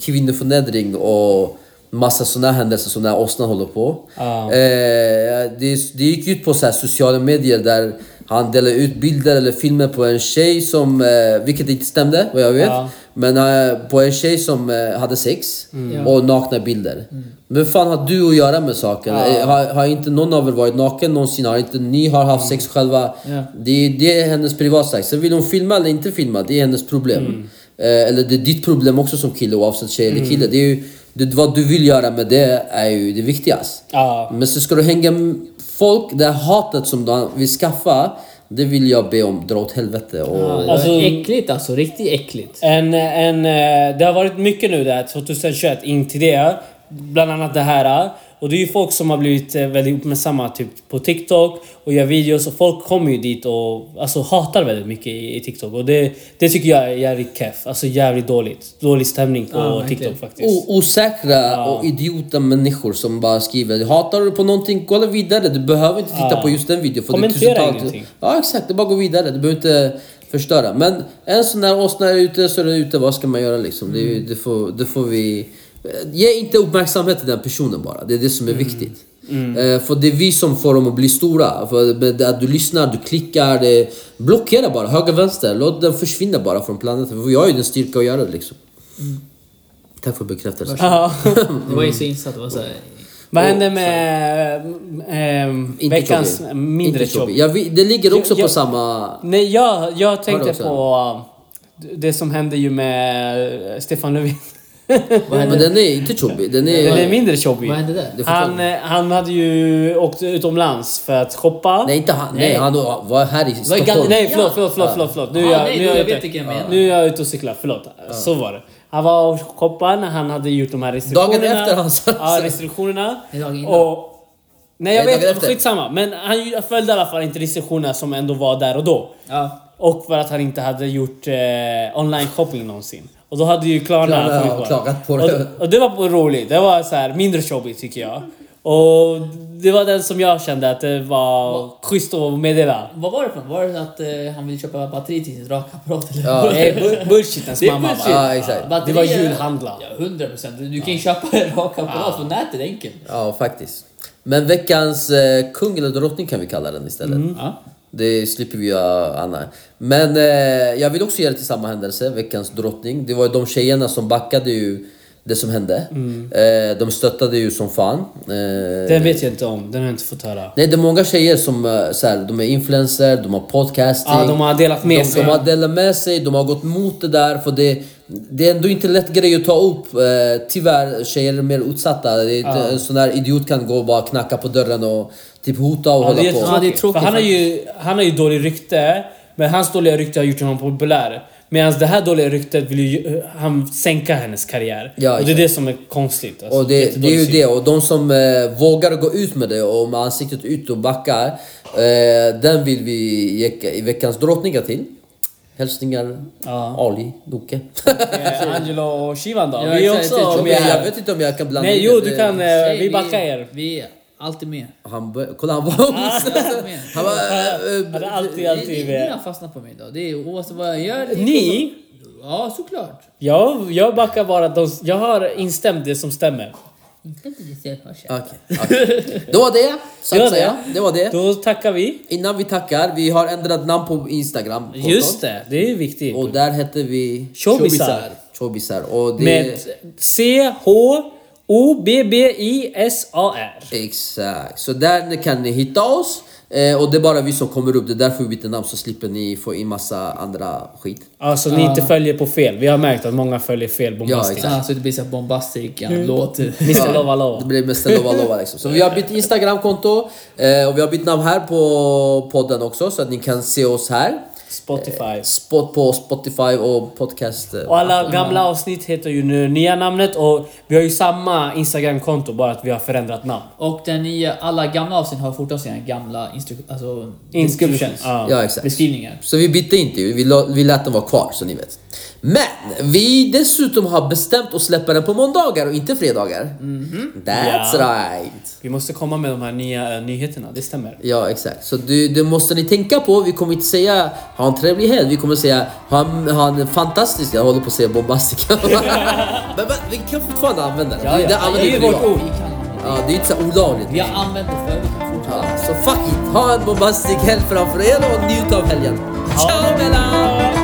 S1: kvinnoförnedring och massa sådana händelser som när Osnan håller på.
S2: Ja.
S1: Eh, det, det gick ut på så här sociala medier där han delade ut bilder eller filmer på en tjej som, eh, vilket inte stämde vad jag vet.
S2: Ja.
S1: Men eh, på en tjej som eh, hade sex
S3: Ja.
S1: och nakna bilder. Men vad fan har du att göra med saken? Eh, Har, har inte någon av er varit naken någonsin? Har inte ni har haft sex själva?
S3: Ja.
S1: Det, det är hennes privatsak. Sen vill hon filma eller inte filma, det är hennes problem. Eh, eller det är ditt problem också som kille oavsett tjej eller kille. Det är ju, det, vad du vill göra med det är ju det viktigaste.
S2: Ja.
S1: Men så ska du hänga m- folk, det här hatet som de vill skaffa, det vill jag be om dra åt helvete. Och,
S2: Alltså-
S3: Alltså, äckligt alltså, riktigt äckligt.
S2: En, en, eh, det har varit mycket nu där 2021 in till det. Bland annat det här. Och det är ju folk som har blivit eh, väldigt uppmärksamma typ på TikTok och gör videos och folk kommer ju dit och alltså, hatar väldigt mycket i, i TikTok. Och det, det tycker jag är jävligt keff. Alltså jävligt dåligt. Dålig stämning på
S3: Ja, verkligen.
S2: TikTok faktiskt.
S1: O- osäkra och idiota människor som bara skriver Hatar du på någonting, kolla vidare. Du behöver inte titta
S2: Ja.
S1: på just den videon. För
S2: Kommentera
S1: det är tusentals-
S2: ingenting.
S1: Ja exakt, det är bara att gå vidare. Du behöver inte förstöra. Men en sån när åsna är ute så är den ute. Vad ska man göra liksom? Det, är
S2: Mm.
S1: ju- det, får, det får vi... eh, Ge inte uppmärksamhet till den personen bara. Det är det
S2: Mm.
S1: som är viktigt. Eh, för det är vi som får dem att bli stora. För med det att du lyssnar, du klickar. Det, blockera bara, höger, vänster. Låt den försvinna bara från planeten. För jag har ju den styrka att göra det liksom. Tack för bekräftelsen.
S2: Ja.
S3: Det var ju så insatt. Det var så här,
S2: Vad händer med ehm,
S1: Inte
S2: veckans
S1: Chobi.
S2: mindre
S1: Inte
S2: chobi?
S1: Chobi. Ja, vi, det ligger också
S2: Jag-
S1: på
S2: jag-
S1: samma...
S2: Nej, jag, jag tänkte
S1: Vadå sen?
S2: på eh, det som hände ju med eh, Stefan Löfven.
S1: Men den är inte Chobi. Den är...
S2: Den är mindre chobbig.
S3: Vad hände där?
S1: Du får ta
S2: Han, eh, han hade ju åkt utomlands för att shoppa.
S1: Nej, inte han. Nej,
S2: Nej.
S1: han var här i
S2: Vad är gal-
S1: Stockholm.
S2: nej förlåt, förlåt, förlåt, förlåt, förlåt. Nu är
S3: Ja,
S2: jag,
S3: nej,
S2: nu är jag,
S3: jag
S2: ute.
S3: vet vilken jag menar.
S2: Nu är jag ute och cyklar, förlåt. Så var det. Han var och shoppade när han hade gjort de här
S1: Dagen
S2: restriktionerna.
S1: efter han sa-
S2: Ja, restriktionerna.
S3: Nej, dagen innan.
S2: Och, nej, jag
S1: Nej, dagen
S2: vet.
S1: efter.
S2: Skitsamma. Men han ju- följde i alla fall inte restriktionerna som ändå var där och då.
S3: ja.
S2: Och för att han inte hade gjort eh, online shopping någonsin. Och då hade ju Klarna
S1: Klarna
S2: kommit
S1: har
S2: på
S1: klagat på det.
S2: Och, och det var roligt. Det var så här mindre jobbigt tycker jag. Och det var den som jag kände att det var schysst att meddela.
S3: Vad var det för något? Var det att eh, han ville köpa batteri till sin rakapparat? eller?
S1: Ja.
S2: Det är bu- bullshitens
S3: Det är
S2: mamma
S3: bullshit.
S1: Ja,
S2: bara.
S1: exakt.
S2: Det var
S3: Batterier-
S2: julhandla.
S3: Ja, 100 procent. Du kan ju köpa en rakapparat på nätet enkelt.
S1: Ja, faktiskt. Men veckans eh, kung eller drottning kan vi kalla den istället.
S2: Mm.
S3: Ja.
S1: Det slipper vi göra Anna. Men eh, jag vill också ge det till samma händelse, veckans drottning. Det var ju de tjejerna som backade ju det som hände.
S2: Mm.
S1: Eh, de stöttade ju som fan. Eh,
S2: Den vet jag inte om, den har jag inte fått höra.
S1: Nej, det är många tjejer som eh, så här, de är influencer, de har podcasting.
S3: Mm.
S2: Ja, de har delat med
S1: de,
S2: sig.
S1: De har delat med sig, de har gått mot det där. För det, det är ändå inte en lätt grej att ta upp. Eh, tyvärr, tjejer är mer utsatta. Det är, inte- En sån där idiot kan gå och bara knacka på dörren och typ hota och
S2: Ja,
S1: hålla
S2: det är
S1: på.
S2: tråkigt.
S3: Ja, det är tråkigt
S2: För han, har ju, han har ju dåligt rykte, men hans dåliga rykte har gjort honom populär. Medan det här dåliga ryktet vill ju han sänka hennes karriär.
S1: Ja,
S2: och det är
S1: exakt.
S2: det som är konstigt. alltså.
S1: Och det, det är
S2: Jättedålig
S1: ju
S2: syn.
S1: det, och de som eh, vågar gå ut med det och med ansiktet ut och backar, eh, den vill vi ge i veckans drottningar till. Hälsningar Ali Doke.
S2: Eh, Angelo och Shivan då?
S3: Ja,
S2: vi är
S3: exakt,
S2: också
S3: exakt.
S1: jag,
S2: med här.
S1: vet inte om jag kan blanda
S2: Nej,
S1: in
S2: jo,
S1: det.
S2: du
S1: Det-
S2: kan. eh,
S3: Tjej,
S2: Vi backar er.
S3: Vi är alltid med.
S1: Han bör, kolla han
S2: Ah,
S1: var
S3: Alltid med.
S1: Han var... eh,
S2: Ja, det är alltid,
S3: Ni, ni,
S2: alltid
S3: ni
S2: med.
S3: har fastnat på mig idag. Det är oavsett vad jag gör. det är-
S2: Ni?
S3: Ja, såklart.
S2: Jag, jag backar bara. De, jag har instämt det som stämmer.
S3: Inte att det är så
S1: Okej. okej. Det var det, så
S2: Det var
S1: att
S2: det.
S1: säga. Det var det.
S2: Då tackar vi.
S1: Innan vi tackar, vi har ändrat namn på Instagram.
S2: Just det, det är viktigt.
S1: Och där hette vi...
S2: Showbizar.
S1: Showbizar. Och det...
S2: Med C-H-O-B-B-I-S-A-R.
S1: Exakt, så där kan ni hitta oss. Eh, och det är bara vi som kommer upp, det är därför vi byter namn så slipper ni få in massa andra skit.
S2: Alltså ni inte följer på fel. Vi har märkt att många följer fel bombastiskt.
S1: exakt.
S3: Alltså det blir så här bombastic mm. låt.
S2: Mr Lova
S1: Det
S2: Lova.
S1: blir mest en lova lova liksom. Så vi har bytt Instagramkonto eh, och vi har bytt namn här på podden också så att ni kan se oss här.
S2: Spotify.
S1: Spot på Spotify och podcast. eh.
S2: Och alla gamla avsnitt heter ju nu nya namnet och vi har ju samma Instagram-konto bara att vi har förändrat namn.
S3: Och den nya, alla gamla avsnitt har fortfarande sina gamla instru- alltså,
S2: Inscriptions.
S3: descriptions.
S2: Ja.
S1: Ja exakt.
S3: Beskrivningar.
S1: Så vi bytte inte ju, vi, la- vi lät den vara kvar så ni vet. Men vi dessutom har bestämt att släppa den på måndagar och inte fredagar.
S2: Mhm.
S1: That's right.
S2: Vi måste komma med de här nya eh, nyheterna, det stämmer.
S1: Ja, exakt. Så det, det måste ni tänka på. Vi kommer inte säga ha en trevlig helg. Vi kommer säga ha en, ha en fantastisk... Jag håller på att säga bombastisk. men, men vi kan fortfarande använda det.
S2: Ja, ja.
S1: Det
S2: Det är
S1: använder
S2: ju
S1: vi
S2: vårt ord.
S3: Vi, kan,
S1: Ja, det är inte så olagligt.
S3: vi har använt det förr, vi kan fortsätta.
S1: Ja, så fuck it. Ha en bombastisk helg framför er och njut av helgen. Ciao Bella!